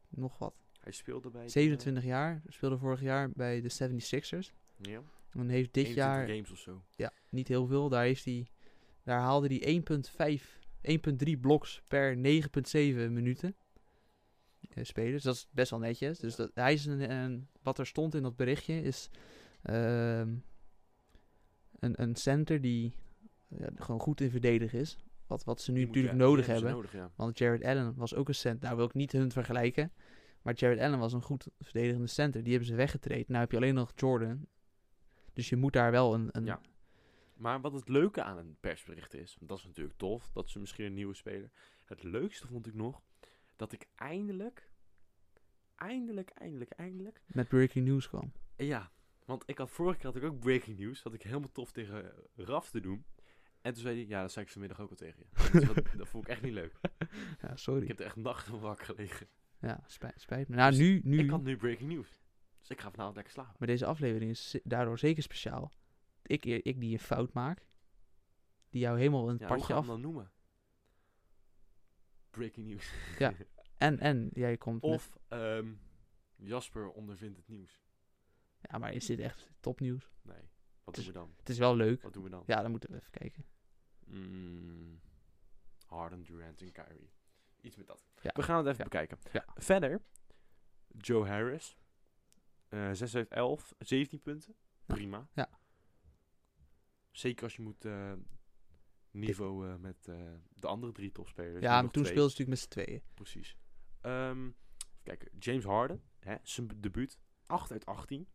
nog wat. Hij speelde bij... de- 27 jaar, speelde vorig jaar bij de 76ers. Ja. En heeft dit 21 jaar games of zo. ja, niet heel veel. Daar, heeft hij, daar haalde hij 1,5, 1,3 bloks per 9,7 minuten eh, spelen. Dus dat is best wel netjes. Dus dat, hij is een, een- wat er stond in dat berichtje is ehm, een, een center die ja, gewoon goed in verdedigen is. Wat, wat ze nu Die moet je- natuurlijk die nodig ze hebben. nodig, ja. Want Jared Allen was ook een center. Nou wil ik niet hun vergelijken. Maar Jared Allen was een goed verdedigende center. Die hebben ze weggetreden. Nou heb je alleen nog Jordan. Dus je moet daar wel een, een, Ja. Maar wat het leuke aan een persbericht is, want dat is natuurlijk tof, dat ze misschien een nieuwe speler. Het leukste vond ik nog, dat ik eindelijk, eindelijk, eindelijk, eindelijk. met breaking news kwam. En ja, want ik had vorige keer had ik ook breaking news, had ik helemaal tof tegen eh, Raf te doen. En toen zei hij, ja, dat zei ik vanmiddag ook al tegen je. Dus dat, dat vond ik echt niet leuk. Ja, sorry. Ik heb er echt nachten van wakker gelegen. Ja, spijt, spijt me. Nou, Dus nu, nu Ik had nu breaking news. Dus ik ga vanavond lekker slapen. maar deze aflevering is ze- daardoor zeker speciaal. Ik, ik die een fout maak, die jou helemaal een Ja, hoe partje gaan we af... hem dan noemen? breaking nieuws. En, en jij komt met- Of ehm, Jasper ondervindt het nieuws. Ja, maar is dit echt topnieuws? Nee, wat is- doen we dan? Het is wel leuk. Wat doen we dan? Dus Ja, dan moeten we even kijken. Mm, Harden, Durant en Kyrie. Iets met dat. Ja. We gaan het even Ja. bekijken. Ja. Verder, Joe Harris. eh 6 uit 11, 17 punten. Ja. Prima. Ja. Zeker als je moet eh, niveau eh, met eh, de andere drie topspelers. Je Ja, hebt maar nog toen twee. speelden ze natuurlijk met z'n tweeën. Precies. Ehm kijk, James Harden, hè, zijn b- debuut. 8 uit 18.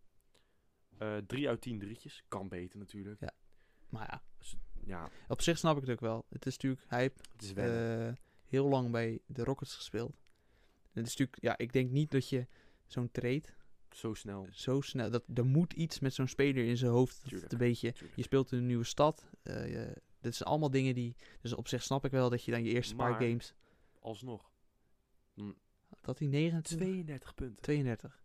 Eh 3 uit 10 drietjes. Kan beter natuurlijk. Maar ja, Ja, op zich snap ik het ook wel. Het is natuurlijk, hij heeft het is wennen. eh, heel lang bij de Rockets gespeeld. Het is natuurlijk, ja, ik denk niet dat je zo'n trade Zo snel. zo snel. Dat, er moet iets met zo'n speler in zijn hoofd. Dat het Tuurlijk. een beetje. Je speelt in een nieuwe stad. eh, je- dit zijn allemaal dingen die. Dus op zich snap ik wel dat je dan je eerste paar Maar- games. Alsnog. Dat hij 29, 32 punten. 32.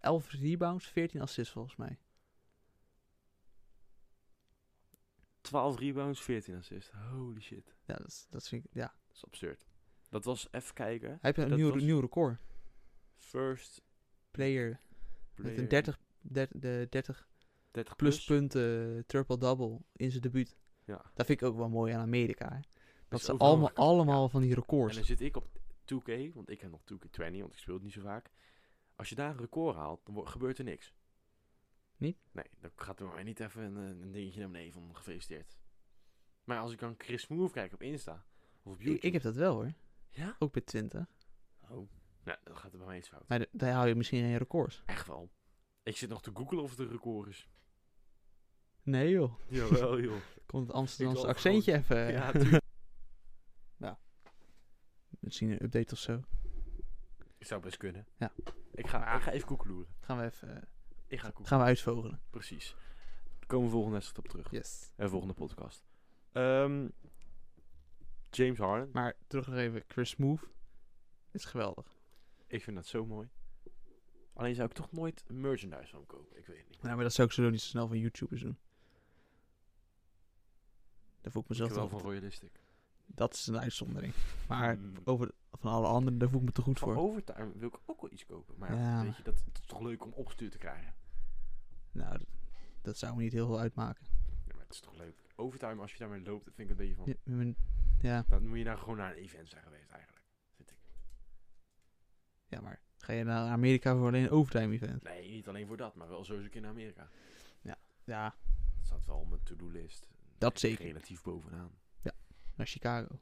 11 rebounds, 14 assists volgens mij. 12 rebounds, 14 assists. Holy shit. Ja, dat, is- dat vind ik. Ja. Dat is absurd. Dat was, even kijken. Hij heeft een Dat nieuw, was- nieuw record. First Player, player. met een 30, der- de 30 30 plus, punten triple-double in zijn debuut. Ja. Dat vind ik ook wel mooi aan Amerika. hè. Dat is ze overal allemaal, gekomen, ja. allemaal van die En records. dan zit ik op 2K, want ik heb nog 2K20, want ik speel het niet zo vaak. Als je daar een record haalt, dan wo- gebeurt er niks. Niet? Nee, dan gaat er maar niet even een, eh, een dingetje naar beneden van gefeliciteerd. Maar als ik dan Chris Move kijk op Insta of op YouTube. Ik, ik heb dat wel hoor. Ja? Ook bij 20. Oh. Nou, dan gaat het bij mij iets fout. Maar d- daar hou je misschien geen records. Echt wel. Ik zit nog te googlen of het een record is. Nee joh. Jawel, joh. Komt het Amsterdamse Ik loop accentje even. eh, ja, tuurlijk. Misschien een update of zo. Zou best kunnen. Ja. Ik ga, ik ga even koekeloeren. Gaan we even eh, Ik ga koekeloeren. gaan we uitvogelen. Precies. Daar komen we volgende wedstrijd op terug. Yes. En volgende podcast. Ehm, James Harden. Maar terug nog even. Chris Move is geweldig. Ik vind dat zo mooi. Alleen zou ik toch nooit merchandise van hem kopen. Ik weet het niet. Nou, maar dat zou ik sowieso niet zo snel van YouTubers doen. Daar voel ik mezelf ik wel toch van Royalistic. Dat is een uitzondering. Maar Mm. over, van alle anderen, daar voel ik me te goed Van voor. Overtime wil ik ook wel iets kopen. Maar Ja. weet je, dat, het is toch leuk om opgestuurd te krijgen. Nou, dat, dat zou me niet heel veel uitmaken. Ja, maar het is toch leuk. Overtime, als je daarmee loopt, vind ik het een beetje van... Ja, mijn- ja, Dan moet je nou gewoon naar een event zijn geweest eigenlijk. Vind ik. ja, maar ga je naar Amerika voor alleen een overtime event? Nee, niet alleen voor dat, maar wel sowieso een keer naar Amerika. Ja, Dat staat wel op mijn to-do-list. dat zeker. Relatief bovenaan. Naar Chicago.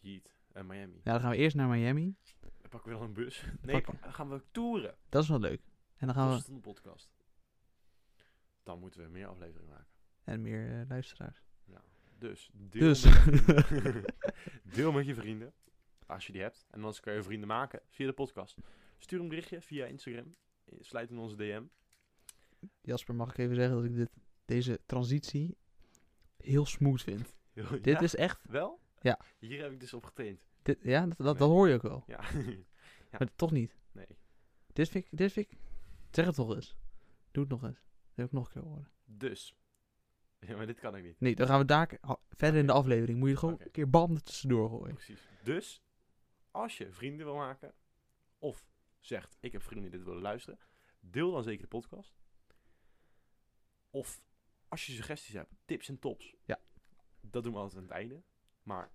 Heat en Miami. Ja, dan gaan we eerst naar Miami. Dan pakken we dan een bus. Nee, pak- pa- dan gaan we toeren. Dat is wel leuk. En dan gaan Dat we is een podcast. Dan moeten we meer afleveringen maken. En meer eh, luisteraars. Ja. Dus, deel, Dus. Met je vrienden. deel met je vrienden. Als je die hebt. En anders kan je vrienden maken via de podcast. Stuur een berichtje via Instagram. Eh, Sluit in onze DM. Jasper, mag ik even zeggen dat ik dit, deze transitie heel smooth vind. Dit Ja, is echt... Wel? Ja. Hier heb ik dus op getraind. Dit, ja, dat, dat, dat Nee. hoor je ook wel. Ja. Ja. Maar toch niet. nee. Dit vind, ik, dit vind ik... Zeg het toch eens. Doe het nog eens. Dat wil ik nog een keer horen. Dus. Ja, maar dit kan ik niet. Nee, dan gaan we daar ha- verder in de Oké. aflevering. Moet je gewoon Oké. een keer banden tussendoor gooien. Precies. Dus, als je vrienden wil maken, of zegt, ik heb vrienden die dit willen luisteren, deel dan zeker de podcast. Of, als je suggesties hebt, tips en tops. Ja. Dat doen we altijd aan het einde. Maar,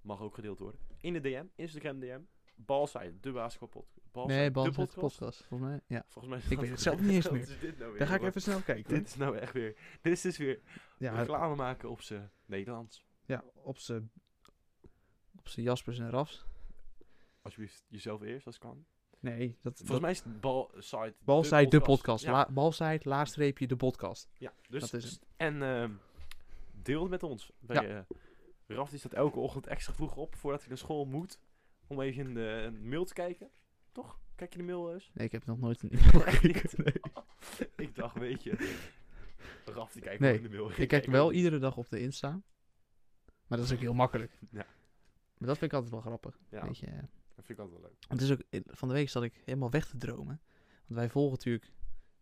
mag ook gedeeld worden. In de DM, Instagram DM, Balside, de basketbal podcast. nee, banden met de podcast. Volgens mij, ja. Volgens mij Ik weet het zelf niet eens Wat meer. is dit nou weer, Dan ga ik jongen? even snel kijken. Dit is nou echt weer, dit is weer ja, reclame maken op zijn Nederlands. ja, op z'n... Op z'n Jaspers en Rafs. Alsjeblieft, jezelf eerst als het kan. Nee, dat... Volgens mij is het Balside Balsite de podcast. Ja. La, balsite, laagstreepje, de podcast. Ja, dus Dat is het. en ehm, deel het met ons. Wij, eh, Raf die staat elke ochtend extra vroeg op voordat hij naar school moet. Om even een, eh, een mail te kijken. Toch? Kijk je de mail eens? Nee, ik heb nog nooit een Echt niet? Nee. Ik dacht, weet je. Raf die kijkt Nee, wel in de mail. eh, Ik kijk wel iedere dag op de Insta. Maar dat is ook heel makkelijk. Ja. Maar dat vind ik altijd wel grappig. Ja, Weet je. eh. dat vind ik altijd wel leuk. Het is ook, eh, van de week zat ik helemaal weg te dromen. Want wij volgen natuurlijk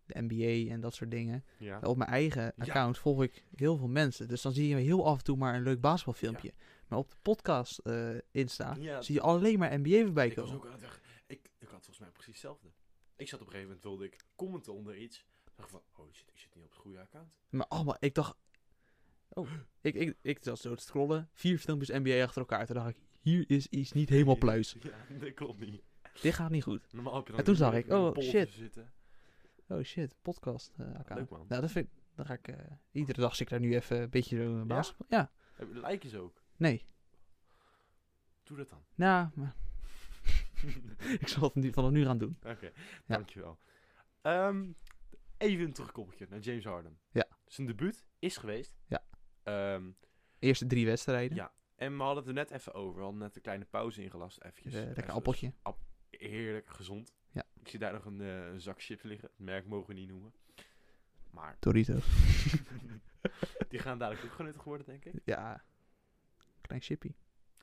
de NBA en dat soort dingen. Ja. Op mijn eigen Ja. account volg ik heel veel mensen. Dus dan zie je heel af en toe maar een leuk basketbalfilmpje. Maar op de podcast eh, Insta Ja, zie je alleen maar NBA voorbij ik was komen. ook aan het weg. Ik, ik had volgens mij precies hetzelfde. Ik zat op een gegeven moment, wilde ik commenten onder iets. dacht van, oh shit, ik zit niet op het goede account. Maar allemaal, ik dacht... Oh, ik, ik, ik zat zo te scrollen. Vier filmpjes NBA achter elkaar. Toen dacht ik, hier is iets niet helemaal pluis. Ja, dat klopt niet. Dit gaat niet goed. Normaal heb je dan En toen iemand zag met ik, een oh, bol te shit. Zitten. Oh shit, podcast eh, account. Leuk man. Nou, dat vind ik... Dan ga ik... eh, iedere dag zit ik daar nu even een beetje zo... eh, basketbal- ja? Heb- Lijken ze ook. Nee. Doe dat dan. Nou, maar- ik zal het nu, vanaf nu gaan doen. Oké, dankjewel. Ehm, even een terugkoppeltje naar James Harden. Ja. Zijn debuut is geweest. Ja. Ehm, Eerste drie wedstrijden. Ja, en we hadden het er net even over. We hadden net een kleine pauze ingelast. Eventjes. Eh, lekker Even appeltje. Heerlijk gezond. Ja. Ik zie daar nog een eh, een zak chips liggen. Het merk mogen we niet noemen. Maar Doritos. die gaan dadelijk ook genuttigd worden, denk ik. Ja. Klein chippy.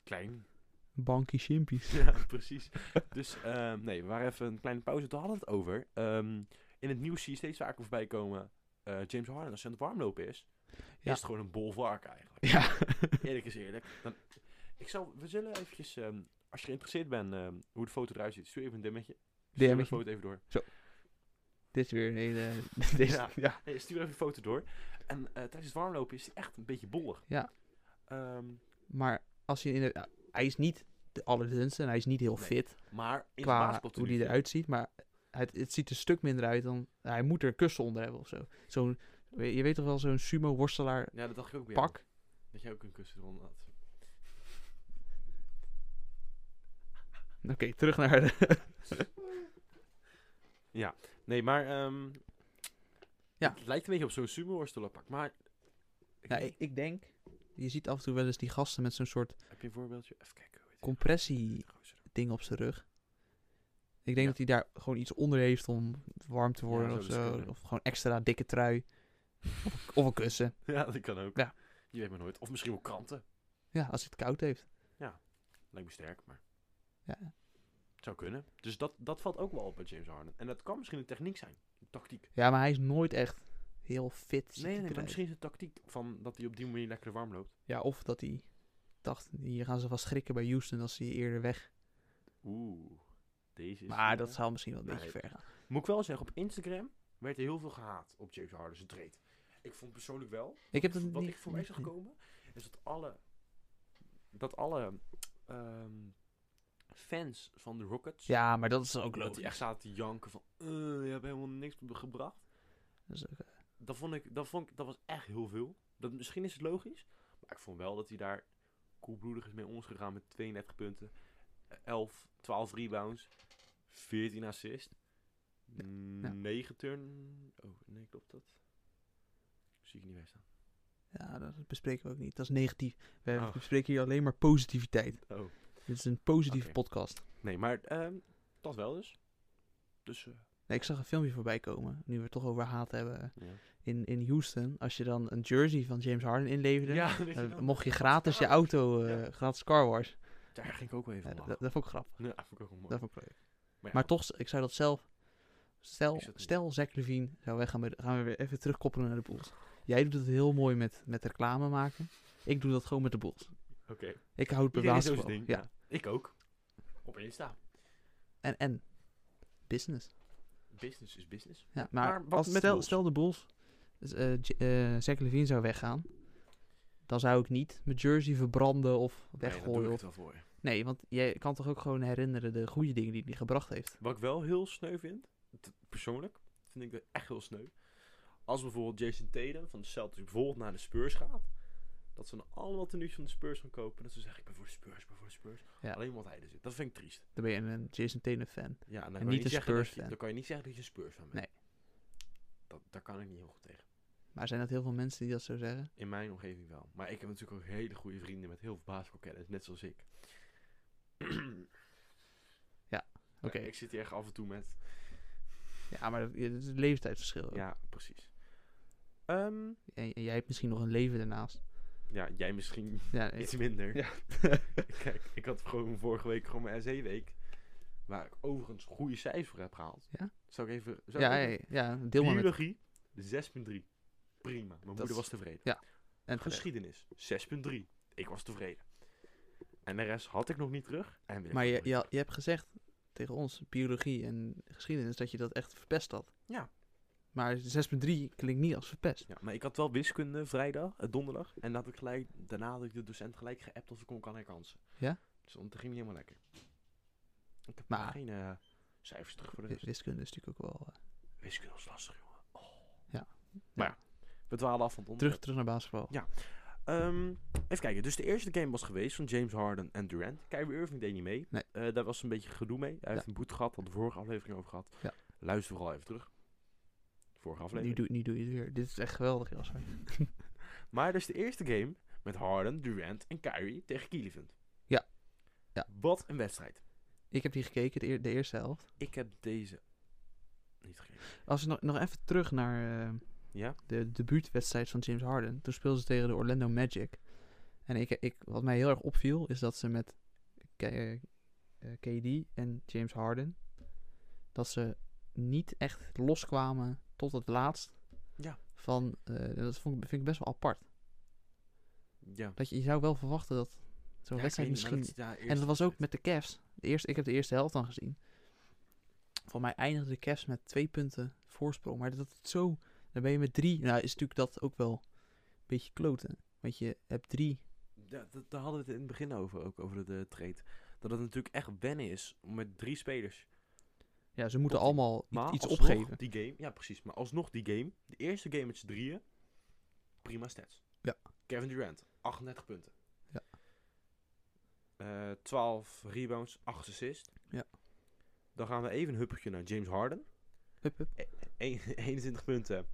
Klein. Bankie chimpies. Ja, precies. Dus ehm, nee, we waren even een kleine pauze. Toen hadden we het over. Ehm, in het nieuws zie je steeds vaker voorbij komen. eh, James Harden, als hij aan het warmlopen is, Ja. is het gewoon een bolvark eigenlijk. Ja. Eerlijk is eerlijk. Dan, ik zal, we zullen eventjes, ehm, als je geïnteresseerd bent ehm, hoe de foto eruit ziet, stuur even een dimmetje. Stuur even de DM'tje. foto even door. Dit is weer een hele... Dit is- Ja. ja. Nee, stuur even de foto door. En eh, tijdens het warmlopen is hij echt een beetje bollig. Ja. Ehm, Maar als je in de, ja, hij is niet de allerdunste en hij is niet heel Nee. fit maar in de qua basketbal hoe hij eruit ziet. Maar het, het ziet er een stuk minder uit dan... Hij moet er een kussen onder hebben of zo. Zo'n, we- je weet toch wel, zo'n sumo worstelaar Ja, dat dacht ik ook weer. pak. Dat jij ook een kussen eronder had. Oké, terug naar de... Nee, maar ehm, Ja. het lijkt een beetje op zo'n sumo pak. Maar ja, ik, ik denk... Je ziet af en toe wel eens die gasten met zo'n soort heb je een voorbeeldje? Even kijken. hoe heet die compressie gozer? ding op zijn rug. Ik denk Ja. dat hij daar gewoon iets onder heeft om warm te worden zou of dus zo. kunnen. Of gewoon extra dikke trui. of, of een kussen. Ja, dat kan ook. Ja. Je weet maar nooit. Of misschien wel kranten. Ja, als hij het koud heeft. Lijkt me sterk, maar Ja, het zou kunnen. Dus dat, dat valt ook wel op bij James Harden. En dat kan misschien een techniek zijn. Een tactiek. ja maar hij is nooit echt heel fit. ziet hij Nee, nee, maar eruit. misschien is het tactiek van dat hij op die manier lekker warm loopt. Ja, of dat hij dacht, hier gaan ze vast schrikken bij Houston als hij eerder weg. Oeh, deze is... Maar eh, dat zou misschien wel een nee. beetje ver gaan. Moet ik wel zeggen, op Instagram werd er heel veel gehaat op James Harden zijn trade. Ik vond persoonlijk wel, Ik heb dat wat niet... ik voor mij zag komen, is dat alle, dat alle ehm, fans van de Rockets, Ja, maar dat is ook dat die logisch. echt zaten te janken van, eh, je hebt helemaal niks be- gebracht. Dat is ook- eh, Dat vond ik, dat vond ik, dat was echt heel veel. Dat, misschien is het logisch, maar ik vond wel dat hij daar koelbloedig is mee om is gegaan met 32 punten, eh, 11, 12 rebounds, 14 assists, ja. 9 turn... Oh, nee, klopt dat? Zie ik niet bij staan. Ja, dat bespreken we ook niet. Dat is negatief. We Oh. bespreken hier alleen maar positiviteit. Oh. Dit is een positieve Oké. podcast. Nee, maar ehm, dat wel dus. Dus eh, Nee, ik zag een filmpje voorbij komen. Nu we het toch over haat hebben. ja. In, in Houston, als je dan een jersey van James Harden inleverde. weet je dan wel. Eh, mocht je gratis je auto, eh, Ja. gratis car wash. daar ging ik ook wel Ja, even dat, om dat vond ik grappig. Ja, dat vond ik ook wel mooi. Dat vond ik leuk. Maar ja, Maar toch, ik zou dat zelf... Stel, Ik zou het niet stel Zach Levine zou weggaan, bij de- gaan we weer even terugkoppelen naar de Bulls. Jij doet het heel mooi met, met reclame maken. Ik doe dat gewoon met de Bulls. oké. Ik houd het bij Iedereen zo basketbal. zijn ding. Ja. Ik ook. Op Insta. En, en business. Business is business. Ja, maar Maar wat als, met de stel, Bulls? stel de Bulls, dus, eh, J- eh, Zach Levine zou weggaan, dan zou ik niet mijn jersey verbranden of Nee, dat doe ik weggooien. het of- wel voor je. Nee, want jij kan toch ook gewoon herinneren de goede dingen die hij gebracht heeft. Wat ik wel heel sneu vind, t- persoonlijk, vind ik dat echt heel sneu. Als bijvoorbeeld Jason Tatum van de Celtics bijvoorbeeld naar de Spurs gaat, dat ze dan allemaal tenues van de Spurs gaan kopen. Dat ze zeggen, ik ben voor de Spurs, ik ben voor de Spurs. Ja. Alleen wat hij er zit. Dat vind ik triest. Dan ben je een Jason Tatum fan. Ja, en dan, En kan niet je niet een zeggen dat je, Spurs-fan. dan kan je niet zeggen dat je een Spurs fan bent. Nee. Dat, daar kan ik niet heel goed tegen. Maar zijn dat heel veel mensen die dat zo zeggen? In mijn omgeving wel. Maar ik heb natuurlijk ook hele goede vrienden met heel veel basketbalkennis, net zoals ik. Oké. Ik zit hier echt af en toe met... Ja, maar dat, ja, dat is een leeftijdsverschil. ook. Ja, precies. Ehm, En, en jij hebt misschien nog een leven daarnaast. ja, jij misschien Ja, iets eh, minder. ja. Kijk, ik had gewoon vorige E week gewoon mijn SE-week. Waar ik overigens goede cijfers voor heb gehaald. Ja? Zou ik even... Zou Ja, ik ja, even- ja, ja, deel maar met. Biologie, 6.3. Prima. Mijn moeder is- was tevreden. En terecht. Geschiedenis, 6.3. Ik was tevreden. En de rest had ik nog niet terug. En wil ik Maar ook je, nog niet je, je hebt gezegd tegen ons, biologie en geschiedenis, dat je dat echt verpest had. Ja. Maar 6.3 klinkt niet als verpest. Ja, maar ik had wel wiskunde vrijdag, eh, donderdag. En dat ik gelijk, daarna had ik de docent gelijk geappt of ik kon kan herkansen. Ja? Dus dan ging niet helemaal lekker. Ik heb Maar- geen eh, cijfers terug voor de Wi- rest. Wiskunde is natuurlijk ook wel... eh, Wiskunde was lastig, jongen. Oh. Ja. Maar ja, we dwalen af van het terug, onderwerp. terug naar basketbal. Ehm, even kijken. Dus de eerste game was geweest van James Harden en Durant. Kyrie Irving deed niet mee. Nee. Eh, daar was een beetje gedoe mee. Hij heeft een boete gehad. Hadden we vorige aflevering over gehad. Ja. Luister vooral even terug. Vorige Nu aflevering. doe, nu doe je het weer. Dit is echt geweldig, Jasper. Maar dus de eerste game met Harden, Durant en Kyrie tegen Cleveland. Ja. Ja. Wat een wedstrijd. Ik heb die gekeken, de, eer- de eerste helft. Ik heb deze niet gegeven. Als we nog, nog even terug naar eh, Ja? de debuutwedstrijd van James Harden. Toen speelden ze tegen de Orlando Magic. En ik, ik, wat mij heel erg opviel, is dat ze met K- eh, eh, KD en James Harden... dat ze niet echt loskwamen tot het laatst. Ja. Van, eh, dat vond, ik- vind ik best wel apart. Ja. Dat je, je zou wel verwachten dat zo'n Ja, ik weet wedstrijd niet, maar misschien... dat is daar eerst- En dat was ook met de Cavs. De eerste, ik heb de eerste helft dan gezien. Voor mij eindigde de Cavs met twee punten voorsprong. Maar dat het zo... Dan ben je met drie... Nou, is natuurlijk dat ook wel een beetje kloten. Want je hebt drie... Ja, dat, daar hadden we het in het begin over, ook over de, de trade. Dat het natuurlijk echt wennen is om met drie spelers. Ja, ze moeten Klopt. allemaal i- Maar iets alsnog opgeven. Die game, ja precies. Maar alsnog die game, de eerste game met z'n drieën, prima stats. Ja. Kevin Durant, 38 punten. Ja. Eh, 12 rebounds, 8 assists. Ja. Dan gaan we even een huppetje naar James Harden. Hup, hup. Een- 21 punten,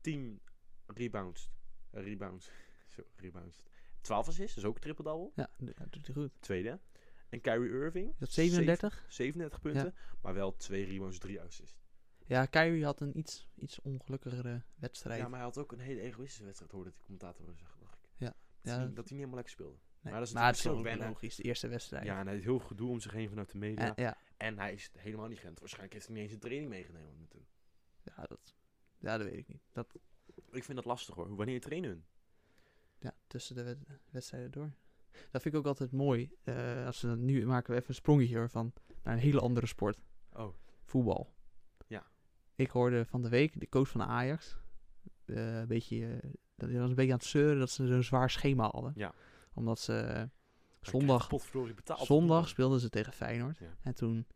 10 rebounds, eh, rebounds, zo, rebounds. 12 assists, dat is ook triple-double. Ja, d- ja, doet hij goed. Tweede. En Kyrie Irving, Is dat 37? 37 punten, maar wel 2 rebounds, 3 assists. Ja, Kyrie had een iets, iets ongelukkigere wedstrijd. Ja, maar hij had ook een hele egoïstische wedstrijd, hoorde ik de commentator wel zeggen, dacht ik. Ja, Dat, ja, hij, dat- dat hij niet helemaal lekker speelde. maar Nee, dat is maar het is natuurlijk wel zo wennen. logisch, de eerste wedstrijd. Ja, en hij heeft heel gedoe om zich heen vanuit de media. En- ja. En hij is helemaal niet gewend. Waarschijnlijk heeft hij niet eens een training meegenomen met hem. Ja, dat, ja, dat weet ik niet. Dat, Ik vind dat lastig hoor. Wanneer trainen hun? ja, tussen de wed- wedstrijden door. Dat vind ik ook altijd mooi. eh, als we dat nu maken we even een sprongetje hoor, van naar een hele andere sport. Oh, Voetbal. Ja. Ik hoorde van de week de coach van Ajax. eh, een beetje, eh, dat hij was een beetje aan het zeuren dat ze zo'n zwaar schema hadden. Ja. Omdat ze eh, zondag, Potverdorie betaald. Mhm. zondag speelden ze tegen Feyenoord. Ja. En toen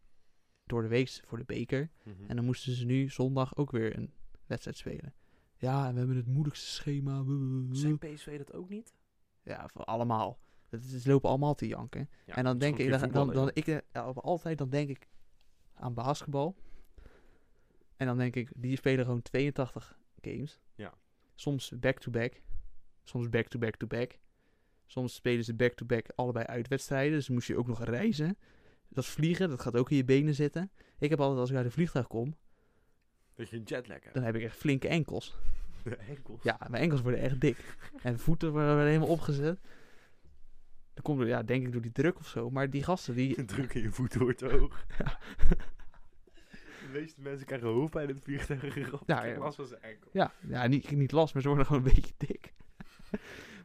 door de week voor de beker. Mhm. En dan moesten ze nu zondag ook weer een wedstrijd spelen. Ja, en we hebben het moeilijkste schema. Zijn PSV dat ook niet? Ja, voor allemaal. Het, is- ze lopen allemaal te janken. Ja, en dan dat is denk ik, gewoon dan, geen dan, dan, voetballen, ik eh, ja, op- altijd dan denk ik aan basketbal. En dan denk ik, die spelen gewoon 82 games. Ja. Soms back-to-back. Soms back-to-back-to-back. Soms spelen ze back-to-back allebei uitwedstrijden. Dus dan moest je ook nog reizen. Dat vliegen, dat gaat ook in je benen zitten. Ik heb altijd, als ik uit de vliegtuig kom, joh. Dat je een jetlag hebt. dan heb ik echt flinke enkels. De enkel. Ja, mijn enkels worden echt dik. En voeten worden weer helemaal opgezet. Dat komt door, ja, denk ik door die druk of zo. Maar die gasten, die... Je druk in je voet wordt hoog. De meeste mensen krijgen hoofdpijn in het vliegtuig. gegrapt. Ja, Ik heb ja. last van zijn enkel. Ja, ja niet, niet last, maar ze worden gewoon een beetje dik.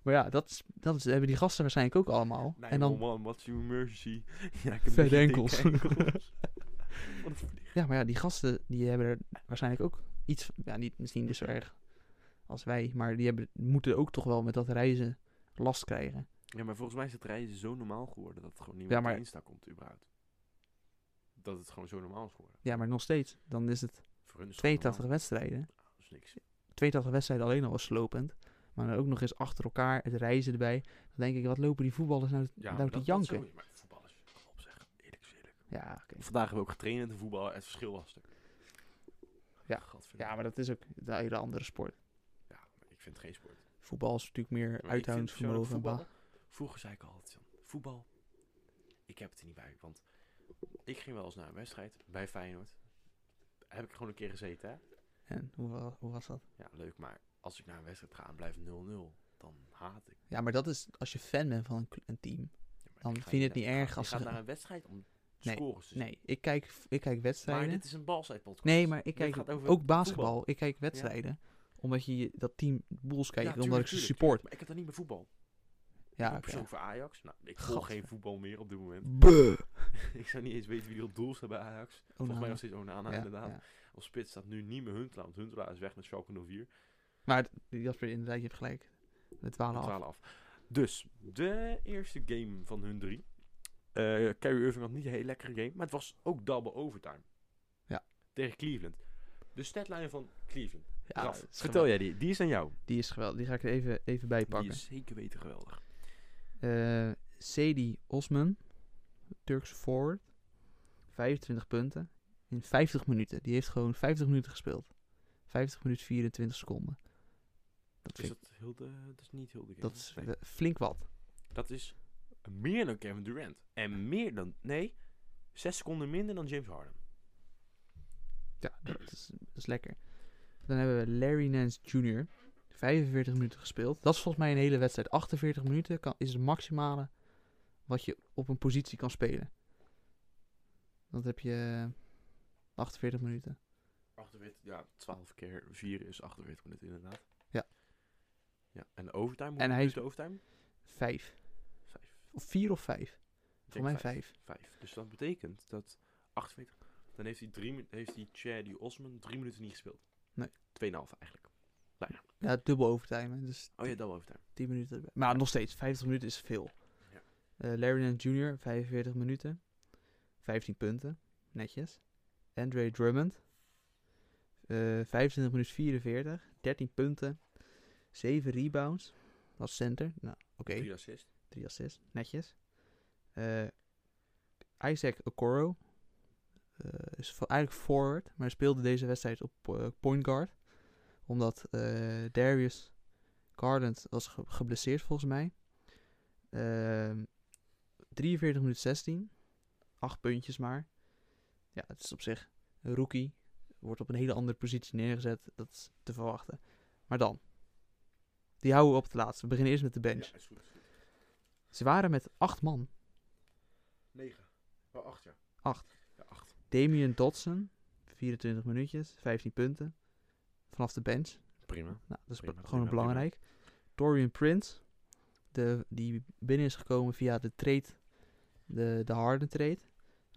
Maar ja, dat, is, dat is- hebben die gasten waarschijnlijk ook allemaal. Nee, en dan, oh man, what's your emergency? Ja, ik beetje Vette dikke enkels. enkels. Wat een vlieg. ja, maar ja, die gasten, die hebben er waarschijnlijk ook iets... van- Ja, niet, misschien niet zo erg als wij. Maar die hebben, moeten ook toch wel met dat reizen last krijgen. ja, maar volgens mij is het reizen zo normaal geworden dat het gewoon niet Ja, meer maar- op Insta komt, überhaupt. Dat het gewoon zo normaal is geworden. Ja, maar nog steeds. Dan is het Voor hun is het gewoon 82 normaal. wedstrijden. Dat is niks. 82 wedstrijden alleen al was slopend. Maar dan ook nog eens achter elkaar, het reizen erbij. Dan denk ik, wat lopen die voetballers nou, Ja, nou te janken? zo, maar voetballers, kom op zeg. Eerlijk is eerlijk. ja, oké. Vandaag hebben we ook getraind met de voetballer. Het verschil was er. Ja. Gadverdamme. ja, maar dat is ook een hele andere sport. Ja, maar ik vind het geen sport. Voetbal is natuurlijk meer Maar ik vind uithoudingsvermogen. en persoonlijk ba- voetbal- Vroeger zei ik altijd, Jan, voetbal, ik heb het er niet bij. Want ik ging wel eens naar een wedstrijd bij Feyenoord. Heb ik gewoon een keer gezeten, hè? En hoe, wa- hoe was dat? Ja, leuk, maar als ik naar een wedstrijd ga en blijft 0-0, dan haat ik. Ja, maar dat is als je fan bent van een, cl- een team. Ja, maar Dan ik ga vind je het naar- niet ik ga- erg als Je gaat ze- naar een wedstrijd om Nee, scores te zien. Nee, ik kijk, ik kijk wedstrijden. Dus- maar dit is een balzijdpodcast. Nee, maar ik Dit kijk gaat over ook basketbal. voetbal. Ik kijk wedstrijden. Omdat je je- dat team Bulls kijkt. tuurlijk, omdat ik ze tuurlijk, support. Maar ik heb dan niet meer voetbal. Ja, ik ben oké. persoon voor Ajax. Nou, ik volg Gadver. geen voetbal meer op dit moment. Buh. ik zou niet eens weten wie er op doel staat bij Ajax. Volgens Onana. mij nog steeds Onana, Oh, nou Ja, inderdaad. ja. Op spits staat nu niet meer Huntelaar, want Huntelaar is weg met Schalke 04. Maar d- Jasper, inderdaad, je hebt gelijk. Het dwalen Met af. 12 af. Dus, de eerste game van hun drie. Eh Kyrie Irving had niet een hele lekkere game, maar het was ook double overtime. Ja. Tegen Cleveland. De statlijn van Cleveland. Ja, Raf, het is vertel geweldig. jij die. Die is aan jou. Die is geweldig. Die ga ik er even, even bij pakken. Die is zeker weten geweldig. Eh Sadie Osman, Turkse forward. 25 punten in 50 minuten. Die heeft gewoon 50 minuten gespeeld. 50 minuten 24 seconden. Dat, Is vind ik, Dus dat, heel de, dat is niet heel de game. dat is Nee. eh, flink wat. dat is meer dan Kevin Durant. En meer dan, nee, zes seconden minder dan James Harden. Ja, dat is, dat is lekker. Dan hebben we Larry Nance Jr. 45 minuten gespeeld. Dat is volgens mij een hele wedstrijd. 48 minuten kan, is het maximale wat je op een positie kan spelen. Dan heb je 48 minuten. 48, ja, 12 keer 4 is 48 minuten inderdaad. Ja. Ja, en de overtime? En hij is- de overtime? Vijf. Vijf. Of vier of vijf. Voor Voor mij vijf. Vijf. Dus dat betekent dat 48... Dan heeft hij, drie, min- heeft hij Chaddy Osman drie minuten niet gespeeld. Nee. Tweeënhalf eigenlijk. Ja, dubbel overtime. hè, Dus Oh ja, double overtime. 10 minuten. erbij. Maar nog steeds, 50 minuten is veel. Ja. Eh, Larry Nance Jr., 45 minuten. 15 punten. Netjes. Andre Drummond. eh, 25 minuten 44. 13 punten. 7 rebounds. Als center. Nou, oké. Drie assist. 3 assists. Netjes. Eh, Isaac Okoro. eh, is vo- eigenlijk forward, maar speelde deze wedstrijd op eh, point guard. Omdat eh, Darius Garland was ge- geblesseerd volgens mij. Ehm 43 minuten 16. 8 puntjes maar. Ja, het is op zich een rookie. Wordt op een hele andere positie neergezet. Dat is te verwachten. Maar dan. Die houden we op het laatste. We beginnen eerst met de bench. Ja, is goed. is goed. Ze waren met acht man. Negen. Oh, acht ja. Acht. Ja, acht. Damien Dodson, 24 minuutjes, 15 punten. Vanaf de bench. Prima. Nou, dat is Prima, be- gewoon prima, belangrijk. Dorian Prince, de, die binnen is gekomen via de trade, de, de harde trade.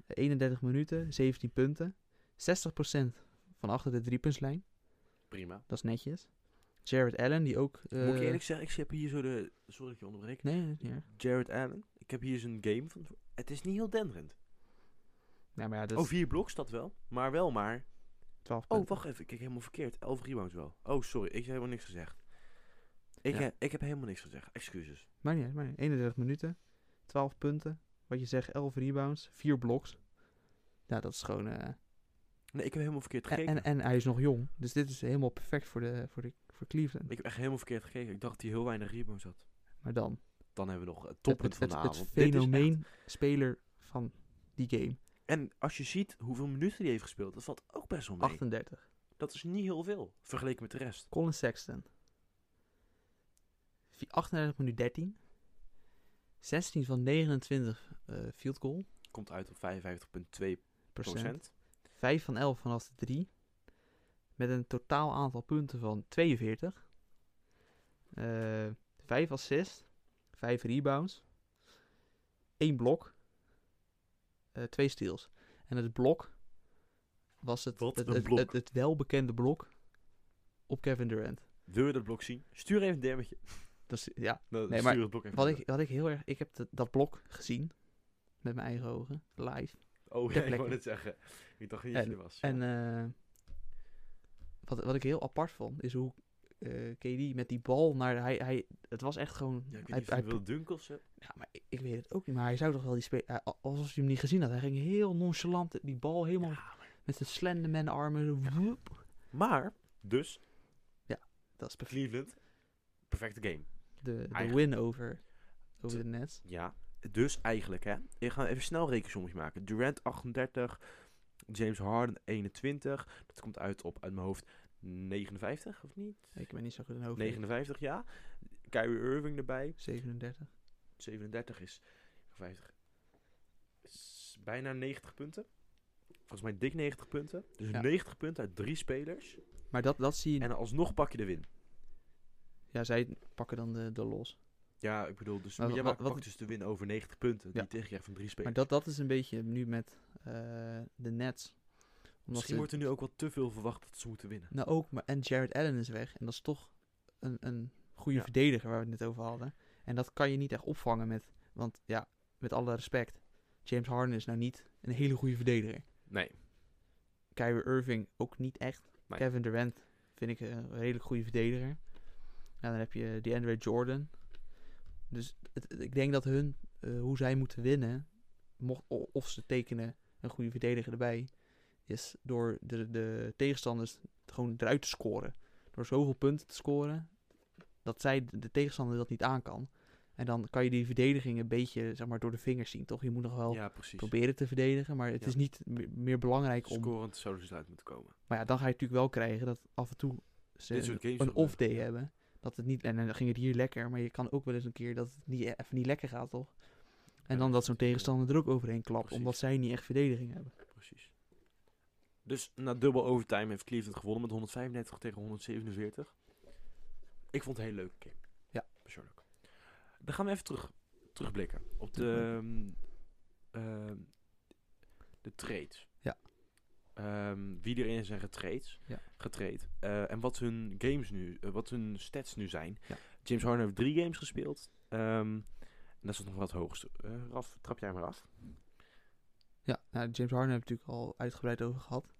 31 minuten, 17 punten. 60% van achter de driepuntslijn. Prima. Dat is netjes. Jared Allen, die ook... Moet eh, ik eerlijk zeggen, ik heb hier zo de... Sorry dat ik je onderbreek. Nee, nee, nee. Jared Allen. Ik heb hier zijn game van... Het is niet heel denderend. Ja, maar ja, dat Oh, is vier bloks, dat wel. Maar wel maar 12 Oh, punten. wacht even. Ik kijk helemaal verkeerd. 11 rebounds wel. Oh, sorry. Ik heb helemaal niks gezegd. Ik, Ja. he- ik heb helemaal niks gezegd. Excuses. Maar niet, uit, maar niet. uit. 31 minuten, 12 punten. Wat je zegt, 11 rebounds, 4 bloks. Nou, dat is gewoon. eh, Nee, ik heb helemaal verkeerd en, gekeken. en, en hij is nog jong. Dus dit is helemaal perfect voor, de, voor, de, voor Cleveland. Ik heb echt helemaal verkeerd gekeken. Ik dacht dat hij heel weinig rebounds had. maar dan. Dan hebben we nog het Het, toppunt van het, de het, het avond. Dit is echt- fenomeen speler van die game. En als je ziet hoeveel minuten hij heeft gespeeld, dat valt ook best wel mee. 38. Dat is niet heel veel, vergeleken met de rest. Colin Sexton. Vi- 38 minuten 13. 16 van 29 eh, field goal. Komt uit op 55,2 Procent. procent. 5 van 11 vanaf de 3. Met een totaal aantal punten van 42. Eh 5 assists. 5 rebounds. 1 blok. eh 2 steals. En het blok was het, Wat het, een het, blok. het- het welbekende blok op Kevin Durant. Wil je dat blok zien? Stuur even een demmetje. Dat is, ja, Nou, Nee, stuur maar het blok even wat door. ik, wat ik heel erg... Ik heb dat- dat blok gezien. Met mijn eigen ogen. Live. Oh, ter ja, ik wou plekke. net zeggen. Ik dacht niet dat je er was. En eh, wat, wat ik heel apart vond, is hoe eh KD met die bal naar... Hij, hij, het was echt gewoon... ja, ik weet hij, niet of hij- je wil dunkel of zo. ja, maar ik, ik weet het ook niet, maar hij zou toch wel die spe- hij- a- Alsof hij hem niet gezien had. Hij ging heel nonchalant die bal helemaal Ja, maar- met zijn slenderman armen. zo woep. Maar, dus, Dat is perfect. Cleveland. Perfecte game. De, de Eigen- win over, over Te- de Nets. Ja, dus eigenlijk hè. Ik ga even snel rekensommetje maken. Durant 38, James Harden 21. Dat komt uit op uit mijn hoofd 59 of niet? Ik ben niet zo goed in hoofd. 59 ja. Kyrie Irving erbij. 37. 37 is 50. Is bijna 90 punten. Volgens mij dik 90 punten. Dus Ja. 90 punten uit drie spelers. Maar dat, dat zie je. En alsnog pak je de win. Ja, zij pakken dan de, de los. Ja, ik bedoel, dus Maar jij wa- maakt- Nou, wat- pakt dus de win over 90 punten. Ja. Die tegenkrijgt van drie Maar spelers. dat, dat is een beetje nu met eh, de Nets. Omdat Misschien ze, wordt er nu ook wel te veel verwacht dat ze moeten winnen. Nou ook, maar, en Jared Allen is weg. En dat is toch een, een goede Ja. verdediger waar we het net over hadden. En dat kan je niet echt opvangen met... Want ja, met alle respect. James Harden is nou niet een hele goede verdediger. Nee. Kyrie Irving ook niet echt. Nee. Kevin Durant vind ik eh, een redelijk goede verdediger. Ja, dan heb je eh, DeAndre Jordan. Dus het- het- ik denk dat hun, eh, hoe zij moeten winnen... Mocht, o- of ze tekenen een goede verdediger erbij... is door de, de tegenstanders gewoon eruit te scoren. Door zoveel punten te scoren dat zij de de tegenstander dat niet aan kan. En dan kan je die verdediging een beetje zeg maar, door de vingers zien, toch? Je moet nog wel Ja, precies. proberen te verdedigen, maar het Ja. is niet me- meer belangrijk om... Scorend zouden ze eruit moeten komen. Maar ja, dan ga je natuurlijk wel krijgen dat af en toe ze Dit soort games een gebeuren, off-day ja. hebben. Dat het niet, en dan ging het hier lekker, maar je kan ook wel eens een keer dat het niet, e- even niet lekker gaat, toch? En dan dat zo'n tegenstander er ook overheen klapt, Precies. omdat zij niet echt verdediging hebben. Precies. Dus na dubbel overtime heeft Cleveland gewonnen met 135 tegen 147. Ik vond het een hele leuke game. Ja. Persoonlijk. Dan gaan we even terug, terugblikken op de, ehm, ehm, de trades. Ja. Ehm, wie erin zijn getraind. Ja. getraind Eh, en wat hun games nu, eh, wat hun stats nu zijn. Ja. James Harden heeft drie games gespeeld. Ehm, en dat is nog wel het hoogste. Eh, Raf, trap jij maar af. Ja, nou, James Harden hebben we natuurlijk al uitgebreid over gehad.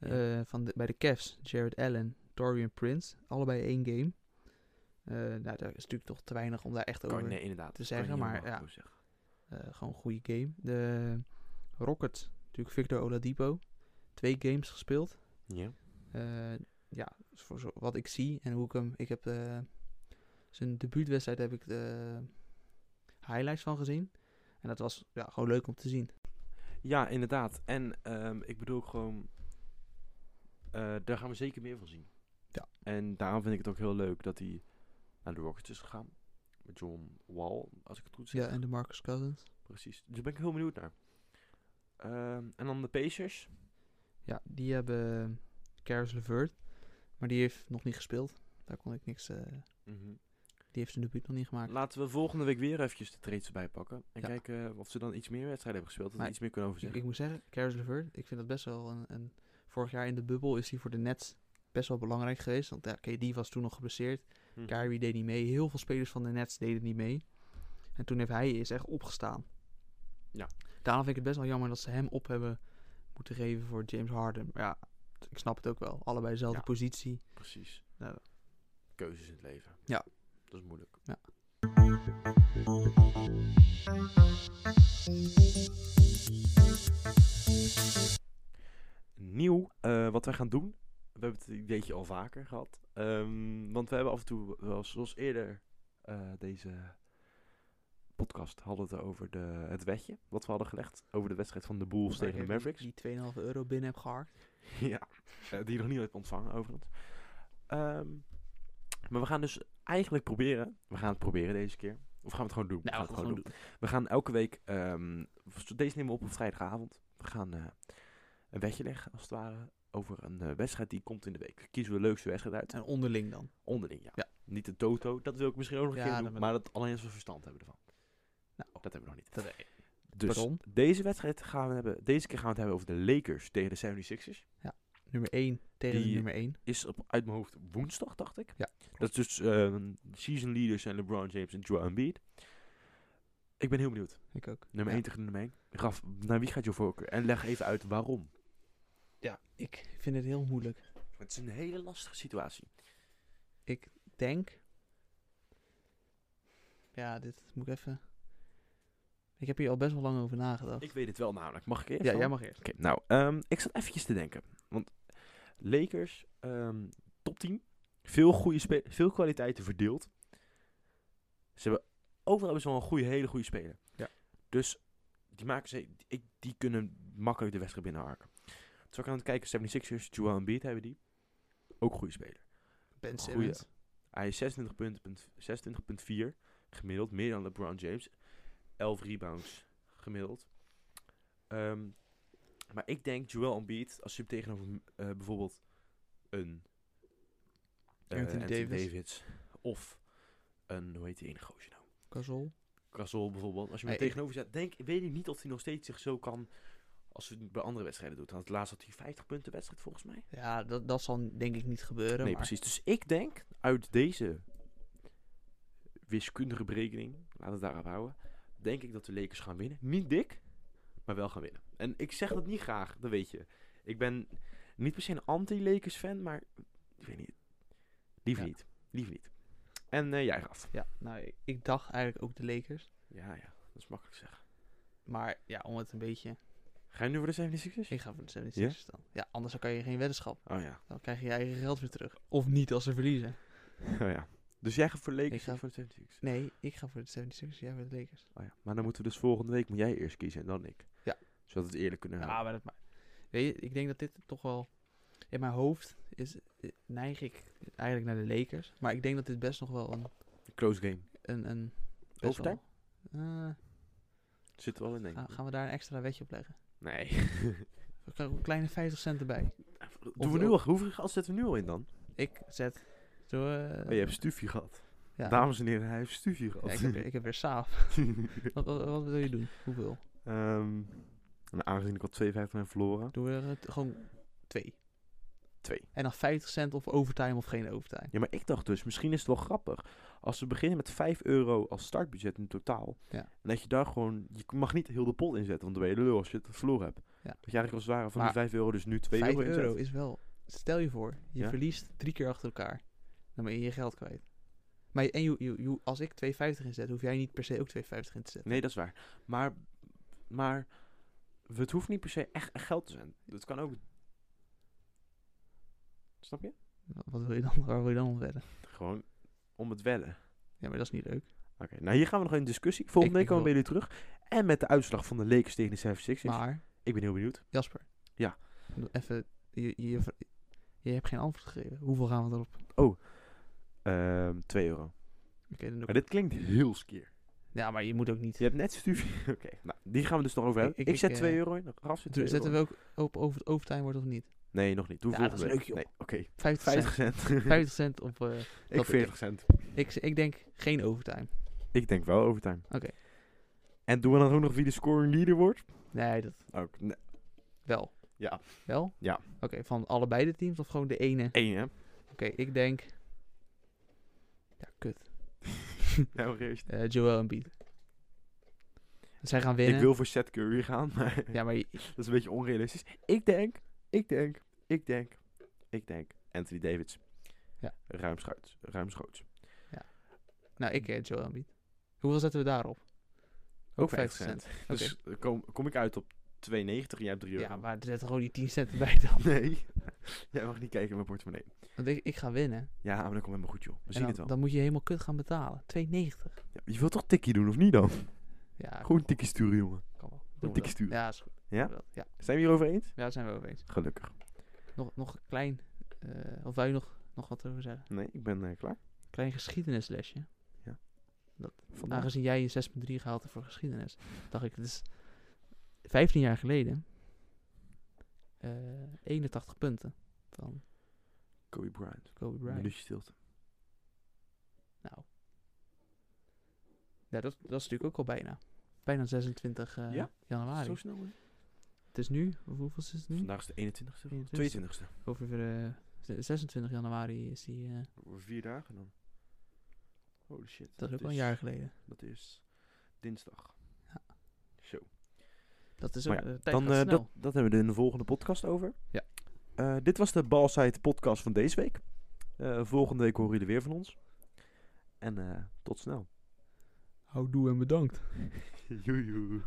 Ja. Eh, van de- bij de Cavs, Jared Allen, Dorian Prince, allebei één game. Eh, nou, dat is natuurlijk toch te weinig om daar echt Kan, over nee, inderdaad. te zeggen, kan je heel maar makkelijk ja. zeggen. eh, gewoon een goede game. De Rockets, natuurlijk Victor Oladipo, twee games gespeeld. Ja. Eh, ja, voor zo, wat ik zie en hoe ik hem. Ik heb eh, zijn debuutwedstrijd heb ik de highlights van gezien. En dat was ja, gewoon leuk om te zien. Ja, inderdaad. En ehm, ik bedoel gewoon, eh, daar gaan we zeker meer van zien. Ja. En daarom vind ik het ook heel leuk dat hij naar de Rockets is gegaan. Met John Wall, als ik het goed zeg. Ja, en de Marcus Cousins. Precies. Dus daar ben ik heel benieuwd naar. Ehm, en dan de Pacers. Ja, die hebben Karis LeVert. Maar die heeft nog niet gespeeld. Daar kon ik niks. eh, die heeft zijn debuut nog niet gemaakt. Laten we volgende week weer eventjes de trades erbij pakken. En Ja. kijken of ze dan iets meer wedstrijden hebben gespeeld. Dat we Maar iets meer kunnen over ik, zeggen. ik moet zeggen, Karis LeVert, ik vind dat best wel een, een... Vorig jaar in de bubbel is hij voor de Nets best wel belangrijk geweest. Want ja, KD was toen nog geblesseerd. Hm. Kyrie deed niet mee. Heel veel spelers van de Nets deden niet mee. En toen heeft hij is echt opgestaan. Ja. Daarom vind ik het best wel jammer dat ze hem op hebben moeten geven voor James Harden. Maar ja, ik snap het ook wel. Allebei dezelfde Ja. positie. Precies. Nou. Keuzes in het leven. Ja. Dat is moeilijk. Ja. Nieuw, eh, wat wij gaan doen. We hebben het ideetje al vaker gehad. Ehm, want we hebben af en toe, wel, eens- zoals eerder eh, deze podcast, hadden we het over de, het wetje. Wat we hadden gelegd over de wedstrijd van de Bulls tegen de Waar ik Mavericks. Die, die 2,5 euro binnen heb geharkt. Ja, eh, die je nog niet hebt ontvangen overigens. Ehm, maar we gaan dus eigenlijk proberen, we gaan het proberen deze keer. Of gaan we het gewoon doen? we gaan Nou, het Nou, gewoon doen. We gaan elke week, ehm, v- deze nemen we op op vrijdagavond. We gaan eh, een wedje leggen als het ware over een eh, wedstrijd die komt in de week. Kiezen we de leukste wedstrijd uit. En onderling dan. Onderling, ja. Ja. Niet de toto, dat wil ik misschien ook nog een Ja, keer dat doen. wil Maar dat alleen als we verstand hebben ervan. Oh, Nou, Dat hebben we nog niet. dat Dus Pardon? deze wedstrijd gaan we hebben, deze keer gaan we het hebben over de Lakers tegen de 76ers. nummer 1 tegen Die- de nummer 1. is op, uit mijn hoofd woensdag, dacht ik. Ja, Dat is dus eh, season leaders zijn LeBron James en Joel Embiid. Ik ben heel benieuwd. Ik ook. Nummer Ja. 1 tegen nummer 1. Raf, naar wie gaat jouw voorkeur? En leg even uit waarom. Ja, ik vind het heel moeilijk. Het is een hele lastige situatie. Ik denk... Ja, dit moet ik even... Ik heb hier al best wel lang over nagedacht. Ik weet het wel namelijk. Mag ik eerst? ja, dan? jij mag eerst. Oké, nou, ehm, ik zat eventjes te denken. Want Lakers, ehm top 10. Veel, goede spe- veel kwaliteiten verdeeld. Ze hebben overal hebben ze wel een goede, hele goede speler. Ja. Dus die, maken ze, ik, die kunnen makkelijk de wedstrijd binnenharken. Zo kan ik aan het kijken, 76ers, Joel Embiid hebben die. Ook een goede speler. Ben Goeie. Simmons. Hij is 26 punten, punt- 26,4 gemiddeld. Meer dan LeBron James. 11 rebounds gemiddeld. Ehm, maar ik denk Joel Embiid, als je hem tegenover eh, bijvoorbeeld een eh, Anthony Davis. of een, hoe heet die enige gozer nou? Gasol. Gasol bijvoorbeeld. Als je hem Hey, tegenover zet, denk, weet ik niet of hij nog steeds zich zo kan als hij het bij andere wedstrijden doet. Want laatst had hij 50 punten wedstrijd volgens mij. Ja, dat, dat zal denk ik niet gebeuren. Nee, maar precies. Dus ik denk uit deze wiskundige berekening, laten we het daarop houden, denk ik dat de Lakers gaan winnen. Niet dik, maar wel gaan winnen. En ik zeg dat niet graag, dat weet je. Ik ben niet per se een anti-Lakers fan, maar ik weet niet. Liever Ja. niet. Liever niet. En eh, jij gaf. Ja, nou, ik, ik dacht eigenlijk ook de Lakers. Ja, ja. Dat is makkelijk zeggen. Maar ja, om het een beetje... Ga je nu voor de 76 Ik ga voor de 76 dan. Ja, anders kan je geen weddenschap. Oh ja. Dan krijg je je eigen geld weer terug. Of niet als ze verliezen. Oh ja. Dus jij gaat voor Lakers Ik ga- en voor de 76 Nee, ik ga voor de 76 jij voor de Lakers. Oh ja. Maar dan moeten we dus volgende week, moet jij eerst kiezen en dan ik. Ja. Zodat we het eerlijk kunnen Ja, houden. Ah, maar dat maar. Weet je, ik denk dat dit toch wel... In mijn hoofd is, eh, neig ik eigenlijk naar de Lakers. Maar ik denk dat dit best nog wel een... Close game. een, een best Overtime? wel- Eh, Zit er wel in, denk ga- ik. gaan we daar een extra wetje op leggen? Nee. We krijgen een kleine 50 cent erbij. Doen we nu al, hoeveel geld zetten we nu al in dan? Ik zet... Zo, eh, Oh, je hebt stufje gehad. ja. Dames en heren, hij heeft stufje Ja, ik, gehad. heb, ik heb weer saaf. wat, wat, wat wil je doen? Hoeveel? Ehm, en aangezien ik al 52 ben verloren. Doen we er het- gewoon twee. Twee. En dan 50 cent of overtime of geen overtime. Ja, maar ik dacht dus, misschien is het wel grappig. Als we beginnen met 5 euro als startbudget in totaal. Ja. En dat je daar gewoon, je mag niet heel de pot inzetten, want dan ben je de lul als je het verloren hebt. Dat je eigenlijk als het ware van Maar die 5 euro dus nu 2 5 euro euro, inzet. is wel... Stel je voor, je Ja. verliest drie keer achter elkaar. Dan ben je je geld kwijt. Maar je- en je, je, je- als ik 2,50 inzet, hoef jij niet per se ook 2,50 in te zetten. Nee, dat is waar. Maar, maar het hoeft niet per se echt, echt geld te zijn. Het kan ook... Snap je? Wa- Wat wil je dan? Waar wil je dan op wedden? Gewoon om het wedden. Ja, maar dat is niet leuk. Oké, nou hier gaan we nog in discussie. Volgende Ik- week ik komen we bij jullie terug. En met de uitslag van de Lakers tegen de 76 Maar, Ik ben heel benieuwd. Jasper. Ja. doe Even, je, je, je hebt geen antwoord gegeven. Hoeveel gaan we erop? Oké, Ehm 2 euro. dan doe Maar ik... dit klinkt heel skeer. Ja, maar je moet ook niet... Je hebt net stufje. Oké, nou, die gaan we dus nog over hebben. Ik- Ik, ik- zet ik, 2 eh, euro in. Raf zet 2 Zetten euro we ook op of het overtime wordt of niet? in. Nee, nog niet. Doe Ja, volgende dat is week. leuk, Nee, oké. 50 cent. 50 cent. 50 cent op. eh, ik dat- 40 cent. Ik, ik denk geen overtime. Ik denk wel overtime. Oké. En doen we dan ook nog wie de scoring leader wordt? Nee, dat Ook. Nee. wel. Ja. Wel? Ja. Oké, van allebei de teams of gewoon de ene? Oké, Eén, hè? ik denk. Ja, kut. Nou, eerst. Eh Joel Embiid. Zij gaan Ik winnen. wil voor Seth Curry gaan, maar Ja, maar je- dat is een beetje onrealistisch. Ik denk, ik denk, ik denk, ik denk Anthony Davids. Ja. Ruimschoots. Ruimschoots. nou, ik eh, Joel Embiid. Hoeveel zetten we daarop? Ook 50 Oké. Dus eh, kom, kom ik uit op 2,90 en jij hebt 3 euro. Ja, maar zet er gewoon die 10 cent erbij dan. Nee, jij mag niet kijken in mijn portemonnee. Want ik, ik ga winnen. Ja, maar dat komt helemaal goed, joh. We En zien dan, het wel. Dan moet je helemaal kut gaan betalen. 2,90. Ja, je wilt toch tikkie doen, of niet dan? Ja, Gewoon een tikkie sturen, jongen. kan wel. Doen we Een dat. tikkie sturen. Ja, is goed. Ja? Doen we dat. Ja, Zijn we hierover eens? ja, daar zijn we over eens. Gelukkig. Nog, nog een klein, eh, of wou je nog, nog wat over zeggen? Nee, ik ben eh, klaar. Klein geschiedenislesje. Vandaag Aangezien jij je 6.3 gehaald hebt voor geschiedenis, dacht ik, het is 15 jaar geleden. eh, 81 punten van Kobe Bryant. Kobe Een Bryant. minuutje stilte. Nou, ja, dat, dat is natuurlijk ook al bijna. Bijna 26 eh, Ja? januari. Zo snel, hè? Het is nu, hoe- hoeveel is het nu? Vandaag is de 21ste. 21ste. 22ste. Over eh, z- 26 januari is die, eh, Over vier dagen dan. Holy shit. dat is ook al een jaar geleden. Dat is dinsdag. Ja. Zo. Dat is ook, Maar eh, de tijd Dan, gaat eh, snel. dat, dat hebben we er in de volgende podcast over. Ja. Eh, dit was de Balsite podcast van deze week. Eh, volgende week horen jullie weer van ons. En eh, tot snel. Houdoe en bedankt. Joejoe.